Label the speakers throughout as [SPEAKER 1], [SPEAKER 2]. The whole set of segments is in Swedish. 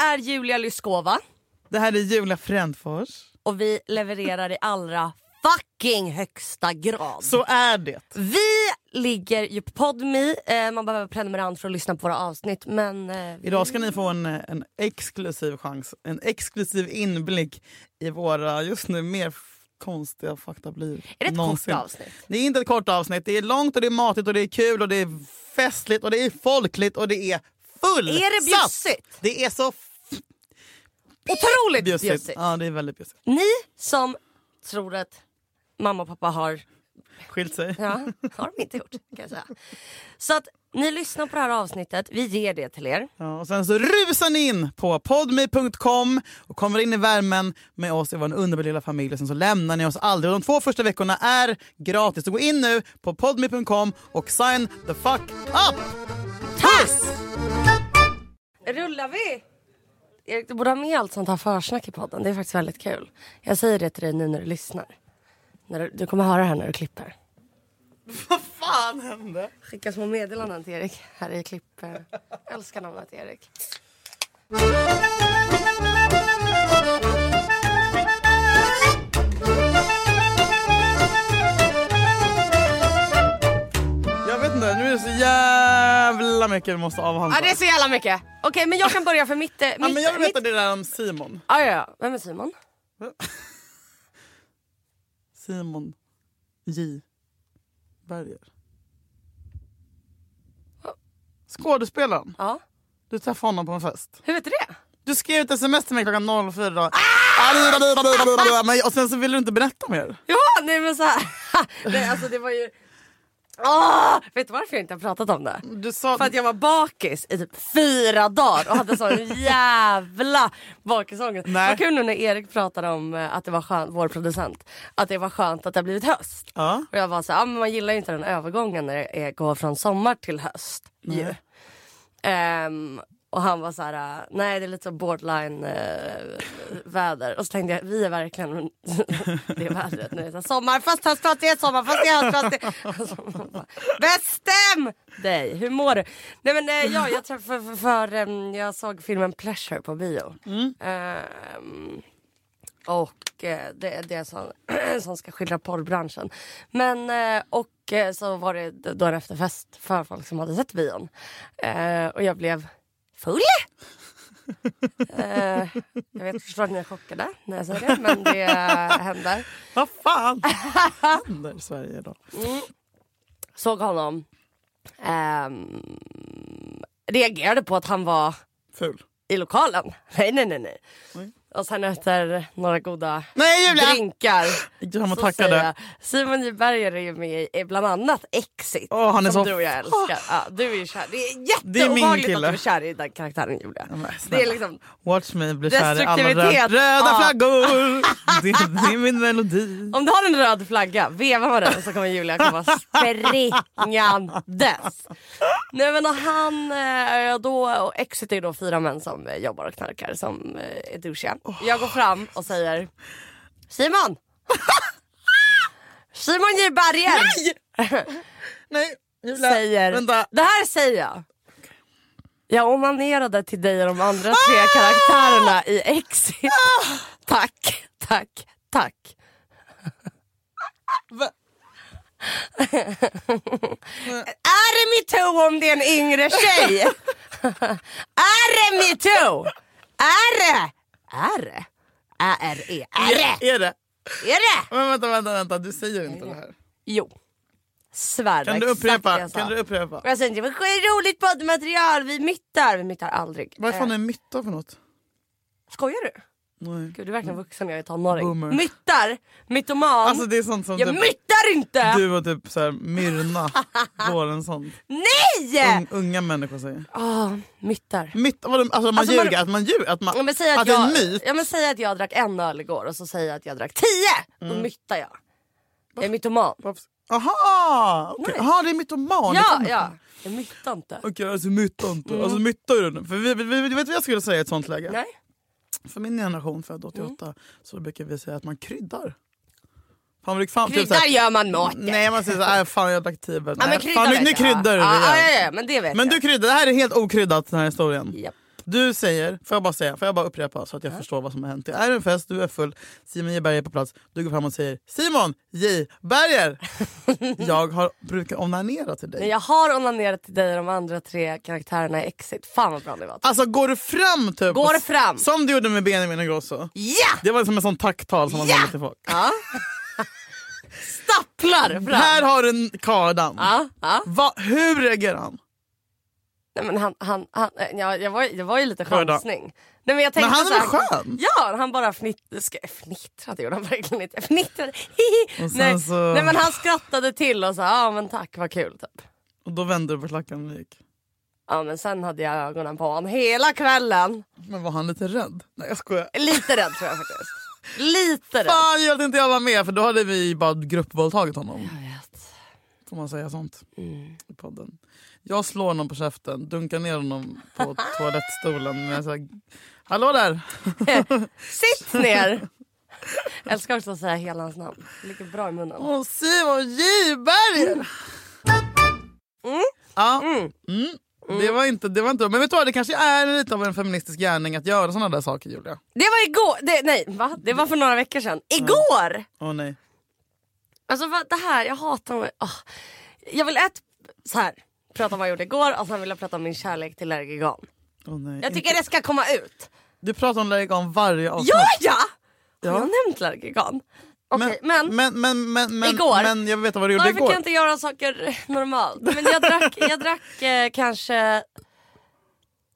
[SPEAKER 1] är Julia Lyskova
[SPEAKER 2] Det här är Julia Frändfors.
[SPEAKER 1] och vi levererar i allra fucking högsta grad.
[SPEAKER 2] Så är det.
[SPEAKER 1] Vi ligger ju på Podmi. Eh, man behöver prenumerant för att lyssna på våra avsnitt. Men, eh, vi-
[SPEAKER 2] Idag ska ni få en, en exklusiv chans, en exklusiv inblick i våra just nu mer f- konstiga fakta blir
[SPEAKER 1] är det ett
[SPEAKER 2] någonsin.
[SPEAKER 1] kort avsnitt?
[SPEAKER 2] Det är inte ett kort avsnitt. Det är långt och det är matigt och det är kul och det är festligt och det är folkligt och det är fullsatt.
[SPEAKER 1] Är det bjussigt?
[SPEAKER 2] Det är så f-
[SPEAKER 1] Otroligt
[SPEAKER 2] bjussigt.
[SPEAKER 1] bjussigt.
[SPEAKER 2] Ja, det är väldigt bjussigt.
[SPEAKER 1] Ni som tror att mamma och pappa har...
[SPEAKER 2] Skilt sig.
[SPEAKER 1] Ja, har de inte gjort kan jag säga. Så att ni lyssnar på det här avsnittet. Vi ger det till er.
[SPEAKER 2] Ja, och sen så rusar ni in på podme.com och kommer in i värmen med oss i vår underbara lilla familj. Och sen så lämnar ni oss aldrig. Och de två första veckorna är gratis. Så gå in nu på podme.com och sign the fuck up!
[SPEAKER 1] Tass! Rullar vi? Erik, du borde ha med allt sånt här försnack i podden. Det är faktiskt väldigt kul. Jag säger det till dig nu när du lyssnar. När du, du kommer höra det här när du klipper.
[SPEAKER 2] Vad fan hände?
[SPEAKER 1] Skicka små meddelanden till Erik. Här är klipp. eh, Älskar namnet Erik.
[SPEAKER 2] Jag vet inte, nu är det så jävla mycket vi måste avhandla.
[SPEAKER 1] Ja, det är så jävla mycket. Okej, men jag kan börja för mitt... eh, mitt
[SPEAKER 2] ja, men jag vill
[SPEAKER 1] mitt...
[SPEAKER 2] veta det där om Simon.
[SPEAKER 1] Ah, ja, ja. Vem är Simon?
[SPEAKER 2] Simon J. Berger. Skådespelaren.
[SPEAKER 1] Ja.
[SPEAKER 2] Du träffade honom på en fest.
[SPEAKER 1] Hur vet du det?
[SPEAKER 2] Du skrev ett sms till mig klockan 04 idag. Ah! Men- Och sen så ville du inte berätta mer.
[SPEAKER 1] Ja, nej men så här. nej, alltså det var ju... Ah! Vet du varför jag inte har pratat om det?
[SPEAKER 2] Du sa...
[SPEAKER 1] För att jag var bakis i typ fyra dagar och hade sån jävla bakisångest.
[SPEAKER 2] Nej.
[SPEAKER 1] Vad kul nu när Erik pratade om eh, att det var skönt, vår producent, att det var skönt att det har blivit höst.
[SPEAKER 2] Ja.
[SPEAKER 1] Och jag var så här, ah, men man gillar ju inte den övergången när det är, går från sommar till höst. Ju. Ehm, och han var så här, eh, nej det är lite så borderline eh, väder. Och så tänkte jag, vi är verkligen det vädret nu. Så här, sommar fast höst fast det är sommar fast det är höst fast det är... Alltså, man bara, Bestäm dig, hur mår du? Nej men eh, ja, jag träffade för, för, ehm, jag såg filmen Pleasure på bio. Ehm, och eh, det är det som, som ska skildra porrbranschen. Men, eh, och eh, så var det d- då en efterfest för folk som hade sett bion. Eh, och jag blev full. eh, jag vet, förstår att ni är chockade när jag säger det, men det händer.
[SPEAKER 2] Vad fan händer i Sverige idag?
[SPEAKER 1] Såg honom. Ehm, reagerade på att han var
[SPEAKER 2] Ful.
[SPEAKER 1] i lokalen. Nej, nej, nej. nej.
[SPEAKER 2] Oj.
[SPEAKER 1] Och sen efter några goda
[SPEAKER 2] Nej Julia!
[SPEAKER 1] drinkar
[SPEAKER 2] Gick du hem och
[SPEAKER 1] Så säger
[SPEAKER 2] tackade?
[SPEAKER 1] jag. Simon J Berger är ju med i eh, bland annat Exit.
[SPEAKER 2] Åh, han är
[SPEAKER 1] som
[SPEAKER 2] så-
[SPEAKER 1] du och jag älskar. Ja, du är ju kär. Det är
[SPEAKER 2] Det är min
[SPEAKER 1] jätteobehagligt att du
[SPEAKER 2] kille.
[SPEAKER 1] är kär i den karaktären Julia.
[SPEAKER 2] men
[SPEAKER 1] Det är
[SPEAKER 2] snälla.
[SPEAKER 1] liksom,
[SPEAKER 2] Watch me bli kär i alla röda,
[SPEAKER 1] Destruktivitet. Ah.
[SPEAKER 2] röda
[SPEAKER 1] Ja.
[SPEAKER 2] flaggor. Det, det är min melodi.
[SPEAKER 1] om du har en röd flagga, veva med den så kommer Julia komma springandes. Nej men och han, eh, då, och Exit är ju då fyra män som eh, jobbar och knarkar som eh, är douchiga. Jag går fram och säger Simon! Simon J Berger!
[SPEAKER 2] Nej Julia,
[SPEAKER 1] säger...
[SPEAKER 2] vänta.
[SPEAKER 1] Det här säger jag. Jag onanerade till dig och de andra tre karaktärerna i Exit. tack, tack, tack.
[SPEAKER 2] Va?
[SPEAKER 1] Är det metoo om det är en yngre tjej? är det metoo? Är det? Är det? A-R-E. Är det?
[SPEAKER 2] Är det?
[SPEAKER 1] Är det?
[SPEAKER 2] Men vänta, vänta, vänta. Du säger inte det här.
[SPEAKER 1] Jo. Svär
[SPEAKER 2] Kan
[SPEAKER 1] det var
[SPEAKER 2] du
[SPEAKER 1] exakt det
[SPEAKER 2] upprepa?
[SPEAKER 1] jag sa.
[SPEAKER 2] Kan du upprepa?
[SPEAKER 1] Jag säger inte, "Men roligt poddmaterial, vi myttar. Vi myttar aldrig.
[SPEAKER 2] Vad fan
[SPEAKER 1] Eh,
[SPEAKER 2] är mytta för något?
[SPEAKER 1] Skojar du?
[SPEAKER 2] Nej.
[SPEAKER 1] Gud, du är verkligen vuxen när jag är tonåring.
[SPEAKER 2] Mm. Boomer.
[SPEAKER 1] Myttar, mytoman.
[SPEAKER 2] Alltså det är sånt som
[SPEAKER 1] jag
[SPEAKER 2] typ-
[SPEAKER 1] myttar inte!
[SPEAKER 2] Du och typ så här, Myrna Lorentzon.
[SPEAKER 1] Nej!
[SPEAKER 2] Un, unga människor säger.
[SPEAKER 1] Ah, myttar.
[SPEAKER 2] Mitt, vadå, alltså man
[SPEAKER 1] Alltså, man-
[SPEAKER 2] ljuger, att man ljuger, att, man,
[SPEAKER 1] Ja, men säg att,
[SPEAKER 2] att
[SPEAKER 1] jag,
[SPEAKER 2] det är Alltså, en myt.
[SPEAKER 1] Ja, men säg att jag drack en öl igår och så säger jag att jag drack tio.
[SPEAKER 2] Mm.
[SPEAKER 1] Då myttar jag. Jag är mytoman.
[SPEAKER 2] Varför- Aha! okej.
[SPEAKER 1] Nej.
[SPEAKER 2] Aha, det är mytoman. det
[SPEAKER 1] Ja,
[SPEAKER 2] kommer-
[SPEAKER 1] ja. Jag myttar inte.
[SPEAKER 2] Okej, alltså mytta inte. Alltså mytta är det nu. För vi, vi, vi, vet du vad jag skulle säga i ett sånt läge?
[SPEAKER 1] Nej. Mm.
[SPEAKER 2] För min generation, född 88, så brukar vi säga att man kryddar. Fan, vi fan, typ så
[SPEAKER 1] Kryddar
[SPEAKER 2] här-
[SPEAKER 1] gör man maten.
[SPEAKER 2] Nej man säger såhär, fan jag drack tio bär.
[SPEAKER 1] ja, men
[SPEAKER 2] Nej,
[SPEAKER 1] kryddar
[SPEAKER 2] fan, nu,
[SPEAKER 1] vet
[SPEAKER 2] nu
[SPEAKER 1] jag.
[SPEAKER 2] kryddar du
[SPEAKER 1] ja,
[SPEAKER 2] det
[SPEAKER 1] ja,
[SPEAKER 2] igen.
[SPEAKER 1] ja, ja, men det vet
[SPEAKER 2] Men
[SPEAKER 1] jag.
[SPEAKER 2] du kryddar, det här är helt okryddat den här historien.
[SPEAKER 1] Japp.
[SPEAKER 2] Du säger, får jag bara säga, får jag bara upprepa så att jag förstår vad som har hänt. Det är en fest, du är full, Simon J Berger är på plats. Du går fram och säger Simon J Berger! jag har, brukar onanera till dig.
[SPEAKER 1] Men jag har onanerat till dig och de andra tre karaktärerna i Exit. Fan vad bra det var.
[SPEAKER 2] Alltså går du fram typ?
[SPEAKER 1] Går fram.
[SPEAKER 2] Som du gjorde med Benjamin Ingrosso.
[SPEAKER 1] Ja!
[SPEAKER 2] Det var liksom en sån tacktal som man
[SPEAKER 1] Ja!
[SPEAKER 2] håller till folk.
[SPEAKER 1] ja. Stapplar fram.
[SPEAKER 2] Här har du en kardan.
[SPEAKER 1] Ja, ja.
[SPEAKER 2] Va, hur reagerar han?
[SPEAKER 1] Nej, men han, han, han, eh, ja, jag var, det var ju lite
[SPEAKER 2] Hörda.
[SPEAKER 1] chansning. Nej, men, jag tänkte
[SPEAKER 2] Men han är
[SPEAKER 1] så här,
[SPEAKER 2] väl skön?
[SPEAKER 1] Ja, han bara fnitt, ska, fnittrade. gjorde han verkligen inte. Jag Fnittrade. hihi.
[SPEAKER 2] Och sen
[SPEAKER 1] nej,
[SPEAKER 2] så-
[SPEAKER 1] nej, men han skrattade till och sa ja men tack vad kul. Typ.
[SPEAKER 2] Och då vände du på klackarna och gick.
[SPEAKER 1] Ja, men sen hade jag ögonen på honom hela kvällen.
[SPEAKER 2] Men var han lite rädd? Nej jag skojar.
[SPEAKER 1] Lite rädd tror jag faktiskt. Lite rädd.
[SPEAKER 2] Fan gör att inte jag var med för då hade vi bara gruppvåldtagit honom.
[SPEAKER 1] Jag vet.
[SPEAKER 2] Får man säga sånt
[SPEAKER 1] Mm.
[SPEAKER 2] i podden. Jag slår honom på käften, dunkar ner honom på toalettstolen. Men jag säger, Hallå där!
[SPEAKER 1] Sitt ner! Jag älskar också att säga hela hans namn. Det ligger bra i munnen.
[SPEAKER 2] Åh Simon J Berger! Mm. Ja. Mm. Det var inte det var inte Men vet du vad, det kanske är lite av en feministisk gärning att göra såna där saker Julia.
[SPEAKER 1] Det var igår! Det, nej, va? Det var för några veckor sedan. Igår!
[SPEAKER 2] Åh nej.
[SPEAKER 1] Alltså vad- det här, jag hatar mig. ah. Jag vill ett, så här, prata om vad jag gjorde igår och sen vill jag prata om min kärlek till Lärgegan.
[SPEAKER 2] Åh, nej.
[SPEAKER 1] Jag tycker det ska komma ut.
[SPEAKER 2] Du pratar om Lerigan varje avsnitt.
[SPEAKER 1] Ja, ja! Har
[SPEAKER 2] Ja.
[SPEAKER 1] jag nämnt Lärgegan? Okej, men,
[SPEAKER 2] men, men, men, men,
[SPEAKER 1] Igår.
[SPEAKER 2] men jag vet vad du gjorde
[SPEAKER 1] varför kan
[SPEAKER 2] igår.
[SPEAKER 1] jag inte göra saker normalt? Men jag drack, jag drack eh, kanske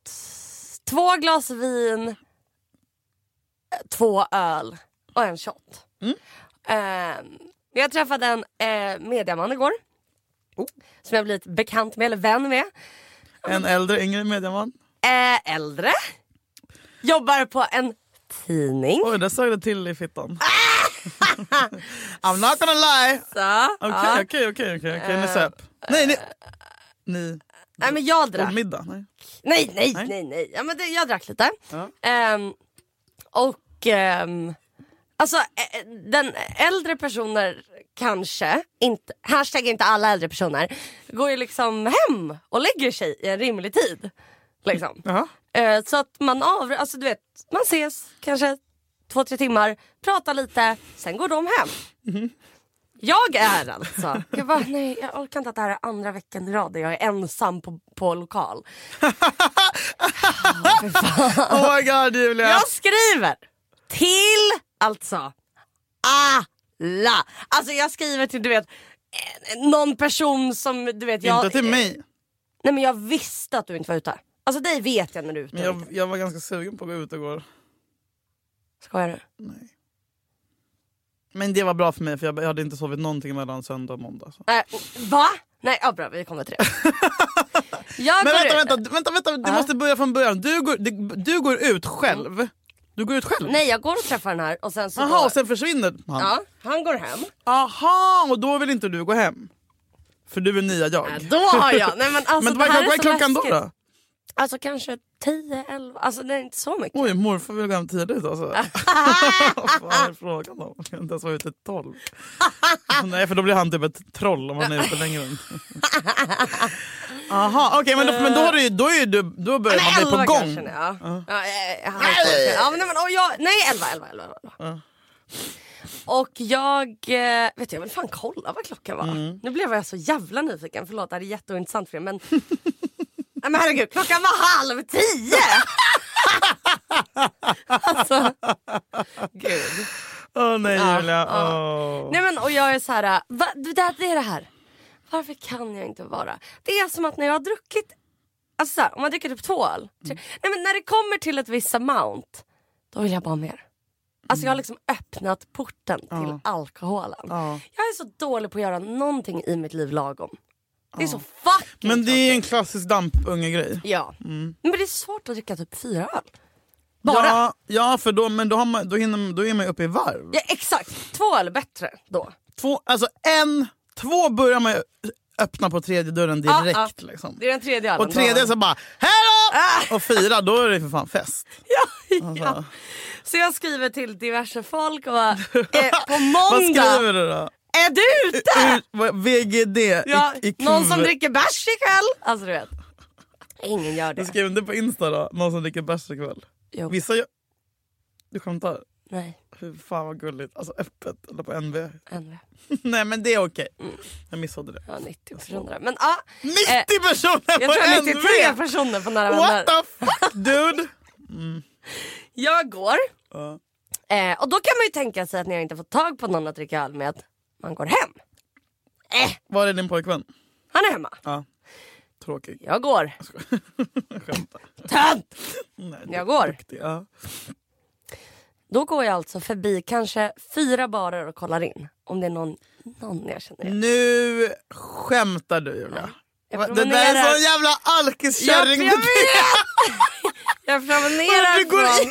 [SPEAKER 1] t- två glas vin, eh, två öl och en shot. Eh, jag träffade en eh, mediaman igår.
[SPEAKER 2] Oh.
[SPEAKER 1] Som jag blivit bekant med, eller vän med.
[SPEAKER 2] En äldre, yngre medieman.
[SPEAKER 1] Eh, äldre. Jobbar på en tidning.
[SPEAKER 2] Oj, där sög det till i fittan. I'm not gonna lie.
[SPEAKER 1] Så, Ah! ja. Eh,
[SPEAKER 2] Okej, okej, okej. okej, okej, Ni söp. Nej, ni... Ni...
[SPEAKER 1] Nej men jag eh, drack.
[SPEAKER 2] Middag? Nej.
[SPEAKER 1] Nej, nej,
[SPEAKER 2] Nej.
[SPEAKER 1] nej, nej. Ja, men det, jag drack lite.
[SPEAKER 2] Ja.
[SPEAKER 1] Ehm, och ehm, alltså eh, eh, den äldre personer kanske, inte, hashtag inte alla äldre personer, går ju liksom hem och lägger sig i en rimlig tid. Liksom.
[SPEAKER 2] Jaha.
[SPEAKER 1] Eh, så att man av, alltså du vet, man ses kanske två, tre timmar, pratar lite, sen går de hem. Jag är alltså, jag bara, nej jag orkar inte att det här är andra veckan i rad där jag är ensam på, på lokal.
[SPEAKER 2] Oh my god Julia!
[SPEAKER 1] Jag skriver till alltså alla. Alltså jag skriver till du vet eh, någon person som du vet. Jag,
[SPEAKER 2] Inte till mig.
[SPEAKER 1] Nej men jag visste att du inte var ute. Alltså dig vet jag när du är ute.
[SPEAKER 2] Men jag, jag var ganska sugen på att gå ut igår.
[SPEAKER 1] Skojar du?
[SPEAKER 2] Nej. Men det var bra för mig för jag, jag hade inte sovit någonting mellan söndag och måndag. Så.
[SPEAKER 1] Nej, va? Nej ja, bra vi kommer till det. jag
[SPEAKER 2] Men
[SPEAKER 1] går
[SPEAKER 2] vänta,
[SPEAKER 1] ut.
[SPEAKER 2] vänta, vänta, vänta du
[SPEAKER 1] Ja.
[SPEAKER 2] måste börja från början. Du går, du, du går ut själv. Du går ut själv?
[SPEAKER 1] Nej jag går och träffar den här och sen så
[SPEAKER 2] Jaha,
[SPEAKER 1] går,
[SPEAKER 2] och sen försvinner han?
[SPEAKER 1] ja, han går hem.
[SPEAKER 2] Aha, och då vill inte du gå hem? För du är nya jag.
[SPEAKER 1] Nej, då har jag. Nej, men alltså,
[SPEAKER 2] Men vad
[SPEAKER 1] det här
[SPEAKER 2] vad är
[SPEAKER 1] så
[SPEAKER 2] klockan då,
[SPEAKER 1] läskigt.
[SPEAKER 2] då?
[SPEAKER 1] Alltså kanske 10, 11, alltså det är inte så mycket.
[SPEAKER 2] Oj, morfar vill gå hem tidigt alltså. Vad fan är frågan om? Jag kan inte ens vara ute tolv. Nej, för då blir han typ ett troll om han är ute längre. än. Aha, okej men, då, men då, har du, ju- då, är ju du, då börjar man bli på gång.
[SPEAKER 1] kanske nu, ja. Ja, eh, halv tolv. ja, men, nej, men, och jag, nej, elva, elva, elva. elva.
[SPEAKER 2] Ja.
[SPEAKER 1] Och jag, eh, vet du, jag vill fan kolla vad klockan var.
[SPEAKER 2] Mm.
[SPEAKER 1] Nu blev jag så jävla nyfiken, förlåt det här är jätteintressant för er men... nej, men herregud, klockan var halv tio! alltså, gud.
[SPEAKER 2] Åh nej
[SPEAKER 1] Ja,
[SPEAKER 2] Julia. åh.
[SPEAKER 1] Nej men och jag är så här, va, det, där- det är det här. Varför kan jag inte vara? Det är som att när jag har druckit, alltså så här, om man dricker typ två öl.
[SPEAKER 2] Mm.
[SPEAKER 1] tre- Nej men när det kommer till ett visst amount, då vill jag bara ha mer. Alltså jag har liksom öppnat porten till alkoholen.
[SPEAKER 2] Mm. Ja.
[SPEAKER 1] Jag är så dålig på att göra någonting i mitt liv lagom. Det är så fucking
[SPEAKER 2] Men det
[SPEAKER 1] tråkigt.
[SPEAKER 2] är Mm. en klassisk dampunge-grej.
[SPEAKER 1] Ja. Men det är svårt att dricka typ fyra öl. Bara. Ja.
[SPEAKER 2] Ja, ja för då, men då, har man, då, hinner, då är man ju uppe i varv.
[SPEAKER 1] exakt, två öl är bättre då.
[SPEAKER 2] Två, alltså en, två börjar man ju öppna på tredje dörren
[SPEAKER 1] Ja,
[SPEAKER 2] direkt.
[SPEAKER 1] ja.
[SPEAKER 2] Liksom.
[SPEAKER 1] Det är den tredje ölen.
[SPEAKER 2] Och tredje så bara hej
[SPEAKER 1] Ah.
[SPEAKER 2] då! Och fyra då är det för fan fest.
[SPEAKER 1] Ja, ja.
[SPEAKER 2] Alltså.
[SPEAKER 1] Så jag skriver till diverse folk och bara, eh, på
[SPEAKER 2] Vad
[SPEAKER 1] måndag
[SPEAKER 2] skriver du då?
[SPEAKER 1] är du ute?
[SPEAKER 2] Ur, vad, VGD
[SPEAKER 1] Ja,
[SPEAKER 2] i, i
[SPEAKER 1] någon som
[SPEAKER 2] kuvert.
[SPEAKER 1] dricker bärs ikväll. Alltså du vet. Ingen gör
[SPEAKER 2] Du
[SPEAKER 1] det.
[SPEAKER 2] skrev inte på Insta då, någon som dricker bärs ikväll?
[SPEAKER 1] Jo,
[SPEAKER 2] Vissa gör... Du skämtar?
[SPEAKER 1] nej,
[SPEAKER 2] Hur fan vad gulligt. Alltså öppet eller på NB.
[SPEAKER 1] ändå.
[SPEAKER 2] Nej men det är okej. Jag missade det.
[SPEAKER 1] Mm. Ja, 90 personer. Men ja,
[SPEAKER 2] 90
[SPEAKER 1] Eh,
[SPEAKER 2] personer
[SPEAKER 1] jag tror
[SPEAKER 2] på
[SPEAKER 1] 93
[SPEAKER 2] NB!
[SPEAKER 1] personer på nära
[SPEAKER 2] What
[SPEAKER 1] vänner.
[SPEAKER 2] the fuck dude!
[SPEAKER 1] Jag går.
[SPEAKER 2] Ja.
[SPEAKER 1] Eh, och då kan man ju tänka sig att när jag inte fått tag på någon att dricka öl med att man går hem. Eh,
[SPEAKER 2] Var är din pojkvän?
[SPEAKER 1] han är hemma.
[SPEAKER 2] Ja. Tråkig.
[SPEAKER 1] Jag går.
[SPEAKER 2] Skämtar.
[SPEAKER 1] Tönt!
[SPEAKER 2] Nej,
[SPEAKER 1] Jag går.
[SPEAKER 2] duktig. Ja.
[SPEAKER 1] Då går jag alltså förbi kanske fyra barer och kollar in om det är någon, någon jag känner
[SPEAKER 2] Mm.
[SPEAKER 1] igen.
[SPEAKER 2] Nu skämtar du Julia.
[SPEAKER 1] Jag
[SPEAKER 2] Va, Det där är
[SPEAKER 1] promenerar-
[SPEAKER 2] sån jävla
[SPEAKER 1] jag, jag
[SPEAKER 2] alkiskärring!
[SPEAKER 1] vet! Jag
[SPEAKER 2] Du
[SPEAKER 1] promenerar
[SPEAKER 2] går i-
[SPEAKER 1] från...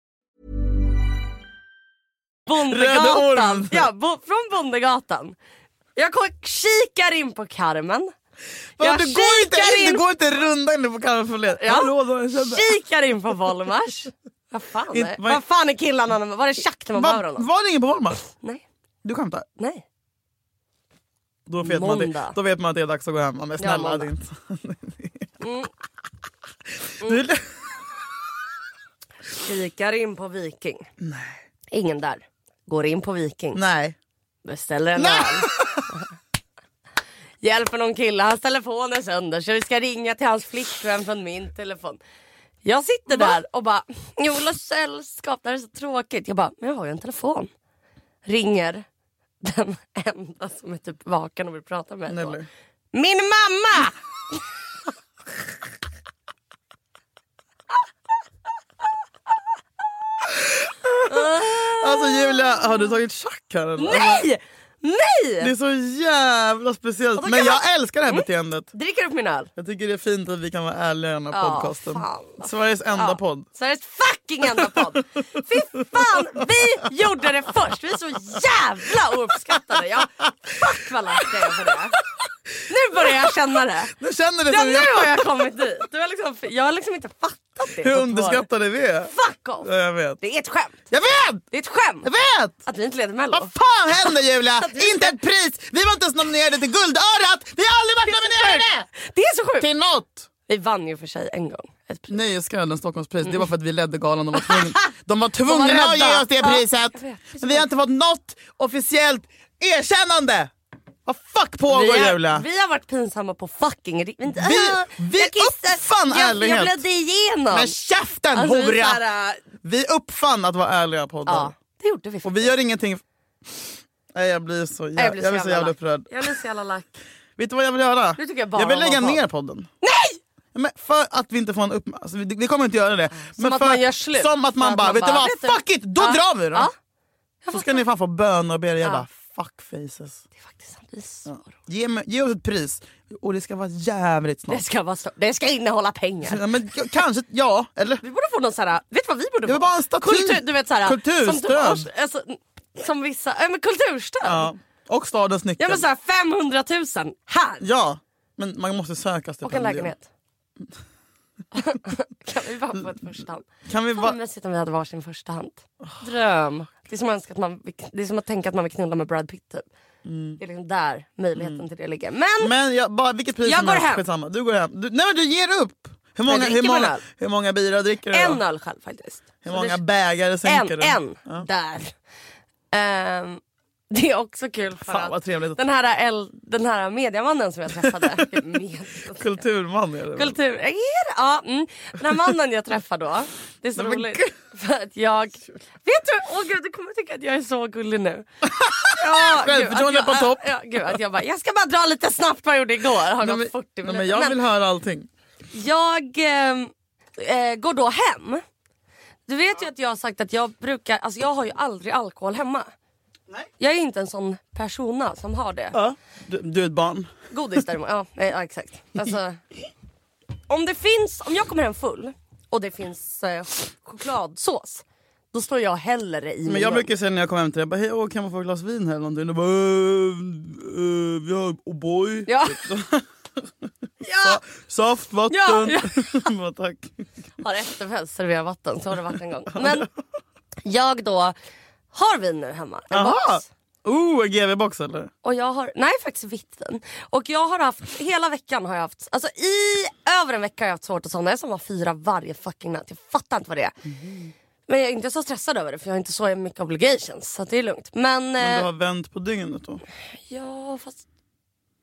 [SPEAKER 2] Röde
[SPEAKER 1] Bondegatan.
[SPEAKER 2] Orm.
[SPEAKER 1] Ja, bo, från Bondegatan. Jag ko- kikar in på Carmen.
[SPEAKER 2] Va,
[SPEAKER 1] Jag
[SPEAKER 2] du, går inte
[SPEAKER 1] kikar
[SPEAKER 2] in,
[SPEAKER 1] in-
[SPEAKER 2] du går inte rundan nu på Kalle Folén.
[SPEAKER 1] Ja.
[SPEAKER 2] Hallå, då, jag kände.
[SPEAKER 1] Kikar in på Volmars. Vad fan
[SPEAKER 2] Inte-
[SPEAKER 1] är,
[SPEAKER 2] vad-
[SPEAKER 1] vad fan är killarna? Var det tjack när man
[SPEAKER 2] Va,
[SPEAKER 1] behöver honom?
[SPEAKER 2] var det ingen på Holmar?
[SPEAKER 1] Nej,
[SPEAKER 2] Du skämtar?
[SPEAKER 1] nej.
[SPEAKER 2] Då vet, man det,
[SPEAKER 1] Måndag.
[SPEAKER 2] då vet man att det är dags att gå hem. Men snälla,
[SPEAKER 1] måndag. Mm.
[SPEAKER 2] det är inte... Du,
[SPEAKER 1] Kikar in på Viking. Nej. Ingen där. Går in på Viking.
[SPEAKER 2] nej.
[SPEAKER 1] Beställer en öl. Hjälper någon kille, hans telefon är sönder så vi ska ringa till hans flickvän från min telefon. Jag sitter där och bara, jag vill ha sällskap, det här är så tråkigt. Jag bara, men jag har ju en telefon. Ringer den enda som är typ vaken och vill prata med mig. då.
[SPEAKER 2] Nelly.
[SPEAKER 1] Min mamma!
[SPEAKER 2] Alltså Julia, har du tagit schack här eller?
[SPEAKER 1] Nej!
[SPEAKER 2] Det
[SPEAKER 1] Nej!
[SPEAKER 2] är så jävla speciellt. Men jag älskar det
[SPEAKER 1] Mm.
[SPEAKER 2] här beteendet.
[SPEAKER 1] Dricker upp min öl.
[SPEAKER 2] Jag tycker det är fint att vi kan vara ärliga i den här
[SPEAKER 1] Ja,
[SPEAKER 2] podcasten.
[SPEAKER 1] fan.
[SPEAKER 2] Sveriges enda
[SPEAKER 1] Ja,
[SPEAKER 2] podd.
[SPEAKER 1] Sveriges fucking enda podd. Fy fan, vi gjorde det först. Vi är så jävla ouppskattade. Jag, fuck vad lack jag är på det. Nu börjar jag känna det.
[SPEAKER 2] Nu känner det
[SPEAKER 1] Ja,
[SPEAKER 2] som
[SPEAKER 1] nu
[SPEAKER 2] Alltså, jag.
[SPEAKER 1] har jag kommit dit. Du har liksom, jag har liksom inte fattat det.
[SPEAKER 2] Hur
[SPEAKER 1] på två år.
[SPEAKER 2] underskattade vi är.
[SPEAKER 1] Fuck off.
[SPEAKER 2] Ja, jag vet.
[SPEAKER 1] Det är ett skämt.
[SPEAKER 2] Jag vet!
[SPEAKER 1] Det är ett skämt.
[SPEAKER 2] Jag vet!
[SPEAKER 1] Att vi inte leder Mello.
[SPEAKER 2] Vad fan händer Julia? inte ett pris! Vi var inte ens nominerade till Guldörat! Vi har aldrig varit nominerade!
[SPEAKER 1] Det är så sjukt.
[SPEAKER 2] Till något!
[SPEAKER 1] Vi vann ju för sig en gång. Ett pris.
[SPEAKER 2] Nöjesguiden, Stockholmspris, det var för att vi ledde galan. De var tvungna, de var
[SPEAKER 1] De var
[SPEAKER 2] tvungna
[SPEAKER 1] rädda.
[SPEAKER 2] att ge oss det
[SPEAKER 1] Ja,
[SPEAKER 2] priset.
[SPEAKER 1] jag vet.
[SPEAKER 2] Men vi har inte fått något officiellt erkännande. Vad fuck pågår
[SPEAKER 1] vi,
[SPEAKER 2] Julia?
[SPEAKER 1] har, vi har varit pinsamma på fucking ri- men,
[SPEAKER 2] Vi- vi
[SPEAKER 1] jag kissade-
[SPEAKER 2] uppfann
[SPEAKER 1] jag,
[SPEAKER 2] ärlighet.
[SPEAKER 1] jag blödde igenom.
[SPEAKER 2] Men käften
[SPEAKER 1] Alltså, vi
[SPEAKER 2] hora!
[SPEAKER 1] såhär, äh,
[SPEAKER 2] Vi uppfann att vara ärliga poddar.
[SPEAKER 1] ja, det gjorde vi.
[SPEAKER 2] Och vi gör ingenting... Nej, jag blir så, jä- jag blir så, jävla,
[SPEAKER 1] lack.
[SPEAKER 2] upprörd.
[SPEAKER 1] Jag blir så jävla lack.
[SPEAKER 2] Vet du vad jag vill göra?
[SPEAKER 1] Nu tycker jag bara
[SPEAKER 2] vill
[SPEAKER 1] om att
[SPEAKER 2] lägga
[SPEAKER 1] vara
[SPEAKER 2] ner podden. Nej! Men för att vi inte får en upp... Alltså, vi, vi kommer inte göra det. Som
[SPEAKER 1] att
[SPEAKER 2] för,
[SPEAKER 1] man gör slut.
[SPEAKER 2] Som att
[SPEAKER 1] För
[SPEAKER 2] man
[SPEAKER 1] att
[SPEAKER 2] bara,
[SPEAKER 1] man
[SPEAKER 2] vet du
[SPEAKER 1] bara,
[SPEAKER 2] vad?
[SPEAKER 1] vet du-
[SPEAKER 2] Fuck it! Då
[SPEAKER 1] Ja.
[SPEAKER 2] drar vi då!
[SPEAKER 1] Ja.
[SPEAKER 2] Så ska ni fan få böna och be er bara, fuck faces.
[SPEAKER 1] Det är faktiskt sant. Det är så roligt.
[SPEAKER 2] Ge, mig, ge oss ett pris och det ska vara jävligt
[SPEAKER 1] Det
[SPEAKER 2] snart.
[SPEAKER 1] ska vara så. Det ska innehålla pengar.
[SPEAKER 2] Ja, men, k- kanske, ja. Eller?
[SPEAKER 1] Vi borde få någon såhär, vet du vad vi borde
[SPEAKER 2] Det
[SPEAKER 1] få?
[SPEAKER 2] var bara en staty.
[SPEAKER 1] Kultur, du vet såhär,
[SPEAKER 2] Kulturstöd.
[SPEAKER 1] Som, alltså, som vissa, ja men kulturstöd. Ja,
[SPEAKER 2] Ja. Och stadens nyckel.
[SPEAKER 1] men såhär 500 000 här
[SPEAKER 2] Ja, men man måste söka
[SPEAKER 1] och en
[SPEAKER 2] stipendium.
[SPEAKER 1] lägenhet. kan vi bara få ett första hand?
[SPEAKER 2] Kan vi
[SPEAKER 1] Fan
[SPEAKER 2] bara...
[SPEAKER 1] vad mysigt om vi hade varsin första hand. Dröm. Det är som att, önska att man, det är som att tänka att man vill knulla med Brad Pitt typ. Det är liksom där möjligheten till det ligger. Men
[SPEAKER 2] Mm. Men jag, bara, vilket pris
[SPEAKER 1] Jag
[SPEAKER 2] som
[SPEAKER 1] går
[SPEAKER 2] helst,
[SPEAKER 1] hem.
[SPEAKER 2] skitsamma. Du går hem. Du, nej men du ger upp! Hur många,
[SPEAKER 1] dricker
[SPEAKER 2] hur
[SPEAKER 1] bara
[SPEAKER 2] många,
[SPEAKER 1] öl.
[SPEAKER 2] hur många bira dricker du
[SPEAKER 1] en
[SPEAKER 2] då?
[SPEAKER 1] öl själv faktiskt.
[SPEAKER 2] Hur
[SPEAKER 1] Så
[SPEAKER 2] många
[SPEAKER 1] det-
[SPEAKER 2] bägare
[SPEAKER 1] en,
[SPEAKER 2] sänker du?
[SPEAKER 1] en där. Ehm, Det är också kul för
[SPEAKER 2] Fan, vad
[SPEAKER 1] att
[SPEAKER 2] trevligt.
[SPEAKER 1] den här, el, den här mediamannen som jag träffade. Med,
[SPEAKER 2] Kulturman är det. väl?
[SPEAKER 1] kultur... Är det? Ja, mm. Den här mannen jag träffade då. Det är så
[SPEAKER 2] Nej, men
[SPEAKER 1] roligt.
[SPEAKER 2] gud.
[SPEAKER 1] För att jag... Vet du? Åh gud, du kommer tycka att jag är så gullig nu. Ja, gud, att
[SPEAKER 2] Självförtroende
[SPEAKER 1] jag-
[SPEAKER 2] på topp.
[SPEAKER 1] Ja, gud, att jag, bara, jag ska bara dra lite snabbt vad jag gjorde igår. Har
[SPEAKER 2] Nej,
[SPEAKER 1] gått 40
[SPEAKER 2] nej,
[SPEAKER 1] minuter.
[SPEAKER 2] men jag
[SPEAKER 1] Men-
[SPEAKER 2] vill höra allting.
[SPEAKER 1] jag ehm, eh, går då hem. Du vet ju att jag har sagt att jag brukar, alltså jag har ju aldrig alkohol hemma. Jag är inte en sån persona som har det.
[SPEAKER 2] Ja. Du, du är ett barn.
[SPEAKER 1] Godis däremot, ja, eh, ja exakt. Alltså, om det finns, om jag kommer hem full och det finns eh, ch- chokladsås. Då står jag hellre i
[SPEAKER 2] Men
[SPEAKER 1] min
[SPEAKER 2] jag
[SPEAKER 1] mun.
[SPEAKER 2] brukar säga när jag kommer hem till dig, jag bara, hej, åh, kan man få ett glas vin här eller någonting? Du bara, eh, eh, vi har O'boy,
[SPEAKER 1] Ja,
[SPEAKER 2] ja. saft, vatten.
[SPEAKER 1] Ja, ja.
[SPEAKER 2] Jag bara, tack.
[SPEAKER 1] har efterfest serverar vatten, så har det varit en gång. Men jag då har vin nu hemma. En
[SPEAKER 2] Jaha!
[SPEAKER 1] box.
[SPEAKER 2] Oh, en GV-box eller?
[SPEAKER 1] Och jag har, nej faktiskt vitt vin. Och jag har haft, hela veckan har jag haft, alltså i över en vecka har jag haft svårt att somna. Jag somnar fyra varje fucking natt. Jag fattar inte vad det är.
[SPEAKER 2] Mm.
[SPEAKER 1] Men jag är inte så stressad över det för jag har inte så mycket obligations. Så att det är lugnt. Men,
[SPEAKER 2] Men du
[SPEAKER 1] eh,
[SPEAKER 2] har vänt på dygnet då?
[SPEAKER 1] ja fast.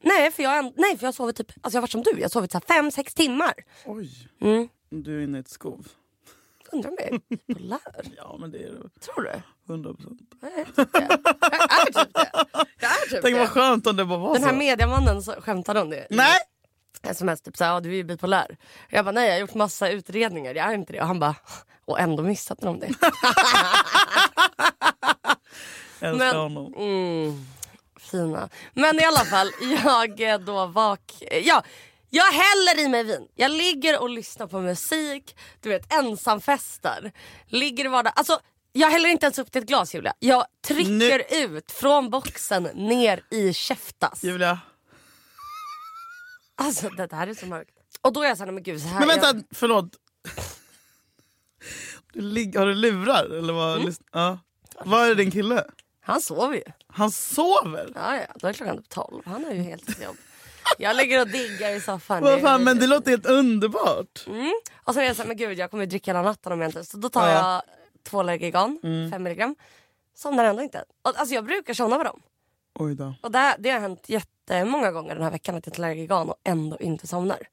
[SPEAKER 1] Nej för, jag, har- nej för jag har sovit typ, alltså jag har varit som du. Jag har sovit så här fem, sex timmar.
[SPEAKER 2] Oj.
[SPEAKER 1] Mm.
[SPEAKER 2] Du är inne i ett skov.
[SPEAKER 1] Undrar om jag är bipolär.
[SPEAKER 2] Ja men det är du.
[SPEAKER 1] Tror du?
[SPEAKER 2] 100 procent.
[SPEAKER 1] Jag är typ det. Jag är typ det. Jag är typ
[SPEAKER 2] Tänk vad
[SPEAKER 1] det.
[SPEAKER 2] skönt om det bara var
[SPEAKER 1] Den här
[SPEAKER 2] så.
[SPEAKER 1] mediamannen så skämtade om det.
[SPEAKER 2] Nej!
[SPEAKER 1] sms typ såhär, ja du är ju bipolär. Jag bara, nej jag har gjort massa utredningar, jag är inte det. Och han bara, och ändå missade de det.
[SPEAKER 2] Jag älskar
[SPEAKER 1] Men- Mm.
[SPEAKER 2] honom.
[SPEAKER 1] Fina. Men i alla fall, jag är då vak... eh, Ja, jag häller i mig vin. Jag ligger och lyssnar på musik, du vet ensamfester. Ligger i vardag. Alltså, jag häller inte ens upp till ett glas Julia. Jag trycker ut från boxen ner i käftas.
[SPEAKER 2] Julia.
[SPEAKER 1] Alltså det här är så mörkt. Och då är jag såhär, nej, men gud så här.
[SPEAKER 2] Men vänta,
[SPEAKER 1] jag...
[SPEAKER 2] förlåt. Du lig- har du lurar eller vad?
[SPEAKER 1] Mm.
[SPEAKER 2] lys- Ja. Var är din kille?
[SPEAKER 1] Han sover ju.
[SPEAKER 2] Han sover?
[SPEAKER 1] Ja, ja, då är klockan typ 12. Han har ju helt sitt jobb. Jag ligger och diggar i soffan.
[SPEAKER 2] Vad fan, men det låter helt underbart.
[SPEAKER 1] Mm. Och sen är jag såhär, men gud jag kommer ju dricka hela natten om jag inte... Så då tar jag två Lergigan,
[SPEAKER 2] Mm.
[SPEAKER 1] 5 milligram. Somnar ändå inte. Och, alltså jag brukar somna med dem.
[SPEAKER 2] Oj då.
[SPEAKER 1] Och det, det har hänt jättemånga gånger den här veckan att jag tar Lergigan och ändå inte somnar.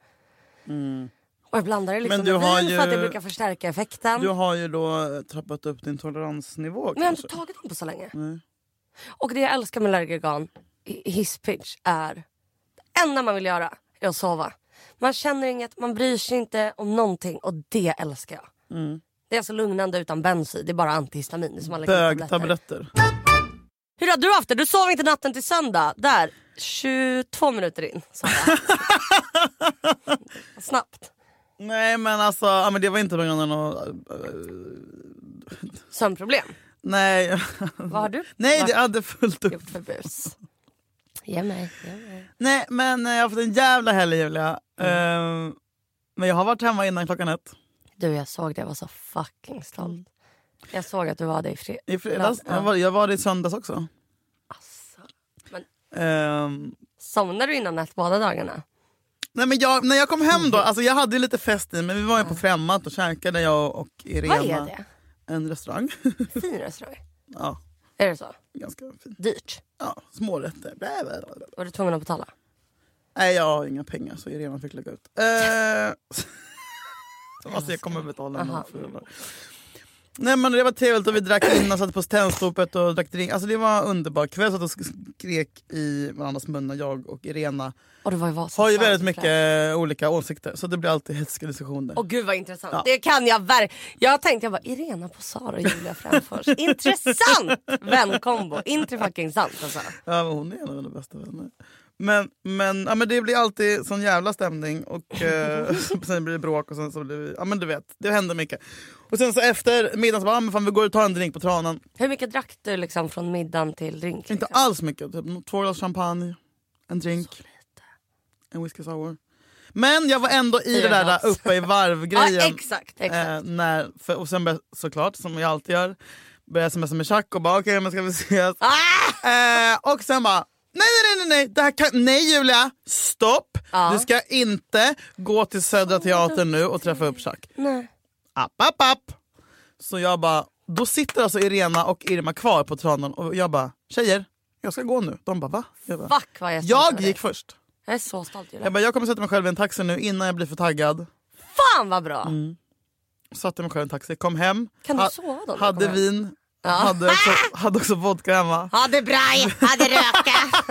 [SPEAKER 1] Och jag blandar det liksom
[SPEAKER 2] Mm. Men du
[SPEAKER 1] med
[SPEAKER 2] har
[SPEAKER 1] vin för att det
[SPEAKER 2] ju-
[SPEAKER 1] brukar förstärka effekten.
[SPEAKER 2] Du har ju då eh, trappat upp din toleransnivå
[SPEAKER 1] Men jag har inte
[SPEAKER 2] kanske?
[SPEAKER 1] tagit dem på så länge.
[SPEAKER 2] Alltså- Nej.
[SPEAKER 1] Och det jag älskar med Lergigan, hisspitch, är det enda man vill göra är att sova. Man känner inget, man bryr sig inte om någonting och det älskar jag.
[SPEAKER 2] Mm.
[SPEAKER 1] Det är alltså lugnande utan benzy, det är bara antihistamin. Det är som allergitabletter.
[SPEAKER 2] Bögtabletter.
[SPEAKER 1] Hur har du haft det? Du sov inte natten till söndag. Där, 22 minuter in. sa jag. Snabbt.
[SPEAKER 2] Nej men alltså, ja, men det var inte på grund av något...
[SPEAKER 1] Sömnproblem.
[SPEAKER 2] Nej,
[SPEAKER 1] Vad har du
[SPEAKER 2] Nej
[SPEAKER 1] varit
[SPEAKER 2] det hade fullt upp.
[SPEAKER 1] gjort för bus? Ge mig, ge mig.
[SPEAKER 2] Nej men eh, jag har fått en jävla helg Julia.
[SPEAKER 1] Mm.
[SPEAKER 2] Eh, men jag har varit hemma innan klockan ett.
[SPEAKER 1] Du jag såg det, jag var så fucking stolt. Jag såg att du var där i fred.
[SPEAKER 2] I fredags.
[SPEAKER 1] Ja.
[SPEAKER 2] Jag, var, jag var det i söndags också.
[SPEAKER 1] Alltså, men
[SPEAKER 2] Eh,
[SPEAKER 1] somnar du innan ett båda dagarna?
[SPEAKER 2] Nej, men jag, när jag kom hem då, alltså jag hade ju lite fest i men vi var ju på Främmat och käkade jag och Irena.
[SPEAKER 1] Mm. Vad är det?
[SPEAKER 2] En restaurang.
[SPEAKER 1] Fin restaurang?
[SPEAKER 2] ja,
[SPEAKER 1] Är det så?
[SPEAKER 2] ganska fin.
[SPEAKER 1] Dyrt?
[SPEAKER 2] Ja, smårätter. Bla, bla, bla, bla.
[SPEAKER 1] Var du tvungen att betala?
[SPEAKER 2] Nej jag har inga pengar så Irena fick lägga ut. Eh, alltså jag kommer betala någon
[SPEAKER 1] Aha.
[SPEAKER 2] för det. Nej men det var trevligt och vi drack innan, satt på Stenstorpet och drack drink. Alltså det var en underbar kväll, satt och sk- skrek i varandras munnar jag och Irena.
[SPEAKER 1] Och det var ju Vasa.
[SPEAKER 2] Har ju väldigt mycket olika åsikter så det blir alltid hetska diskussioner.
[SPEAKER 1] Och gud vad intressant.
[SPEAKER 2] Ja.
[SPEAKER 1] Det kan jag verkligen. Jag tänkte jag bara Irena på Sara och Julia Fränfors. intressant vänkombo. Inte fucking sant alltså.
[SPEAKER 2] Ja, men hon är en av mina bästa vänner. Men, men, ja, men det blir alltid sån jävla stämning och eh, sen blir det bråk och sen så blir det, ja men du vet, det händer mycket. Och sen så efter middagen så bara, ah, men fan, vi går och tar en drink på tranan.
[SPEAKER 1] Hur mycket drack du liksom från middagen till drink?
[SPEAKER 2] Inte
[SPEAKER 1] Liksom?
[SPEAKER 2] alls mycket, typ två glas champagne, en drink, en whisky sour. Men jag var ändå i det
[SPEAKER 1] Fyra
[SPEAKER 2] där
[SPEAKER 1] glas.
[SPEAKER 2] uppe i
[SPEAKER 1] Ja
[SPEAKER 2] varvgrejen.
[SPEAKER 1] exakt. exakt.
[SPEAKER 2] Eh, när, för, och sen började, såklart, som jag alltid gör, började smsa med Chuck och bara okej men ska vi ses?
[SPEAKER 1] Ah!
[SPEAKER 2] Eh, och sen bara nej nej nej nej, det här kan, nej Julia, stopp!
[SPEAKER 1] Ja.
[SPEAKER 2] Du ska inte gå till Södra Teatern nu och träffa upp Chuck.
[SPEAKER 1] Nej.
[SPEAKER 2] App, app, app. Så jag bara, då sitter alltså Irena och Irma kvar på tranan och jag bara tjejer, jag ska gå nu. De bara, va? Jag, bara,
[SPEAKER 1] Fuck vad jag är stolt över
[SPEAKER 2] jag
[SPEAKER 1] dig.
[SPEAKER 2] gick först.
[SPEAKER 1] Jag är så stolt över
[SPEAKER 2] Jag
[SPEAKER 1] dig.
[SPEAKER 2] bara, jag kommer sätta mig själv i en taxi nu innan jag blir för taggad.
[SPEAKER 1] Fan vad bra!
[SPEAKER 2] Mm. Satte mig själv i en taxi, kom hem.
[SPEAKER 1] Kan du
[SPEAKER 2] Ha-
[SPEAKER 1] sova då när du
[SPEAKER 2] Hade
[SPEAKER 1] kom hem?
[SPEAKER 2] vin, hade, också, hade också vodka hemma.
[SPEAKER 1] Ha det bra, ha det röka!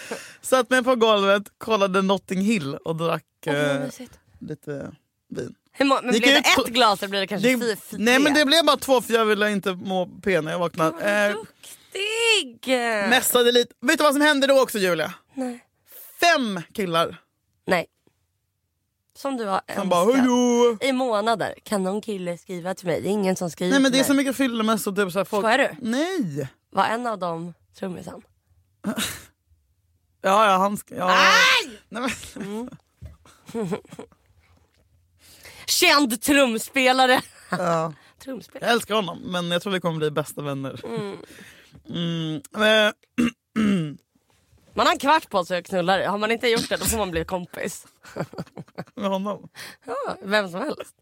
[SPEAKER 2] Satt mig på golvet, kollade Notting Hill och drack
[SPEAKER 1] Åh, vad
[SPEAKER 2] eh,
[SPEAKER 1] mysigt.
[SPEAKER 2] lite vin.
[SPEAKER 1] Hur må- men
[SPEAKER 2] Gick
[SPEAKER 1] blir det
[SPEAKER 2] ut på-
[SPEAKER 1] ett glas eller blir det kanske
[SPEAKER 2] Det-
[SPEAKER 1] fy- fy-
[SPEAKER 2] nej men
[SPEAKER 1] tre?
[SPEAKER 2] det blev bara två för jag ville inte må p när jag vaknade. Eh,
[SPEAKER 1] Duktig!
[SPEAKER 2] mässade lite. Vet du vad som hände då också Julia? Fem killar
[SPEAKER 1] Nej. Som du har
[SPEAKER 2] som bara
[SPEAKER 1] önskat.
[SPEAKER 2] hejå.
[SPEAKER 1] I månader. Kan någon kille skriva till mig? Det är ingen som skriver
[SPEAKER 2] Nej
[SPEAKER 1] till
[SPEAKER 2] men det är
[SPEAKER 1] mig.
[SPEAKER 2] så mycket fyllemässor. Typ, så här, folk...
[SPEAKER 1] Skojar du?
[SPEAKER 2] Nej.
[SPEAKER 1] Var en av dem trummisen?
[SPEAKER 2] Ja, ja, han ska... Ja. Nej, men,
[SPEAKER 1] Känd trumspelare!
[SPEAKER 2] ja.
[SPEAKER 1] trumspelare?
[SPEAKER 2] Jag älskar honom men jag tror vi kommer bli bästa vänner. Mm. Eh,
[SPEAKER 1] Man har en kvart på sig att knulla det. Har man inte gjort det då får man bli kompis.
[SPEAKER 2] med honom.
[SPEAKER 1] Ja, vem som helst.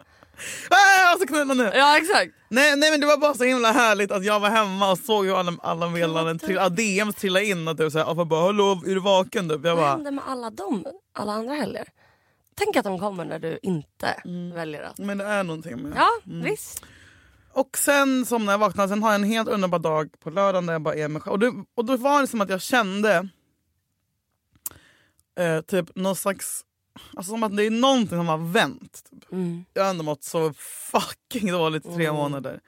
[SPEAKER 2] Ah, jag ska knulla nu!
[SPEAKER 1] Ja exakt.
[SPEAKER 2] Nej, nej men det var bara så himla härligt att jag var hemma och såg hur alla, alla meddelanden, till, ah, DMs trilla in. Och typ såhär, ah, folk bara hallå är du vaken? Typ. Jag
[SPEAKER 1] Vad
[SPEAKER 2] bara,
[SPEAKER 1] händer med alla dem? Alla andra helger? Tänk att de kommer när du inte
[SPEAKER 2] Mm.
[SPEAKER 1] väljer att...
[SPEAKER 2] men det är någonting med det.
[SPEAKER 1] Ja visst.
[SPEAKER 2] Och sen som när jag vaknade, sen har jag en helt underbar dag på lördagen där jag bara är mig själv. Och, det, och då var det som att jag kände eh, typ någon slags, alltså som att det är någonting som har vänt. Typ. Jag har ändå mått så fucking dåligt i tre månader.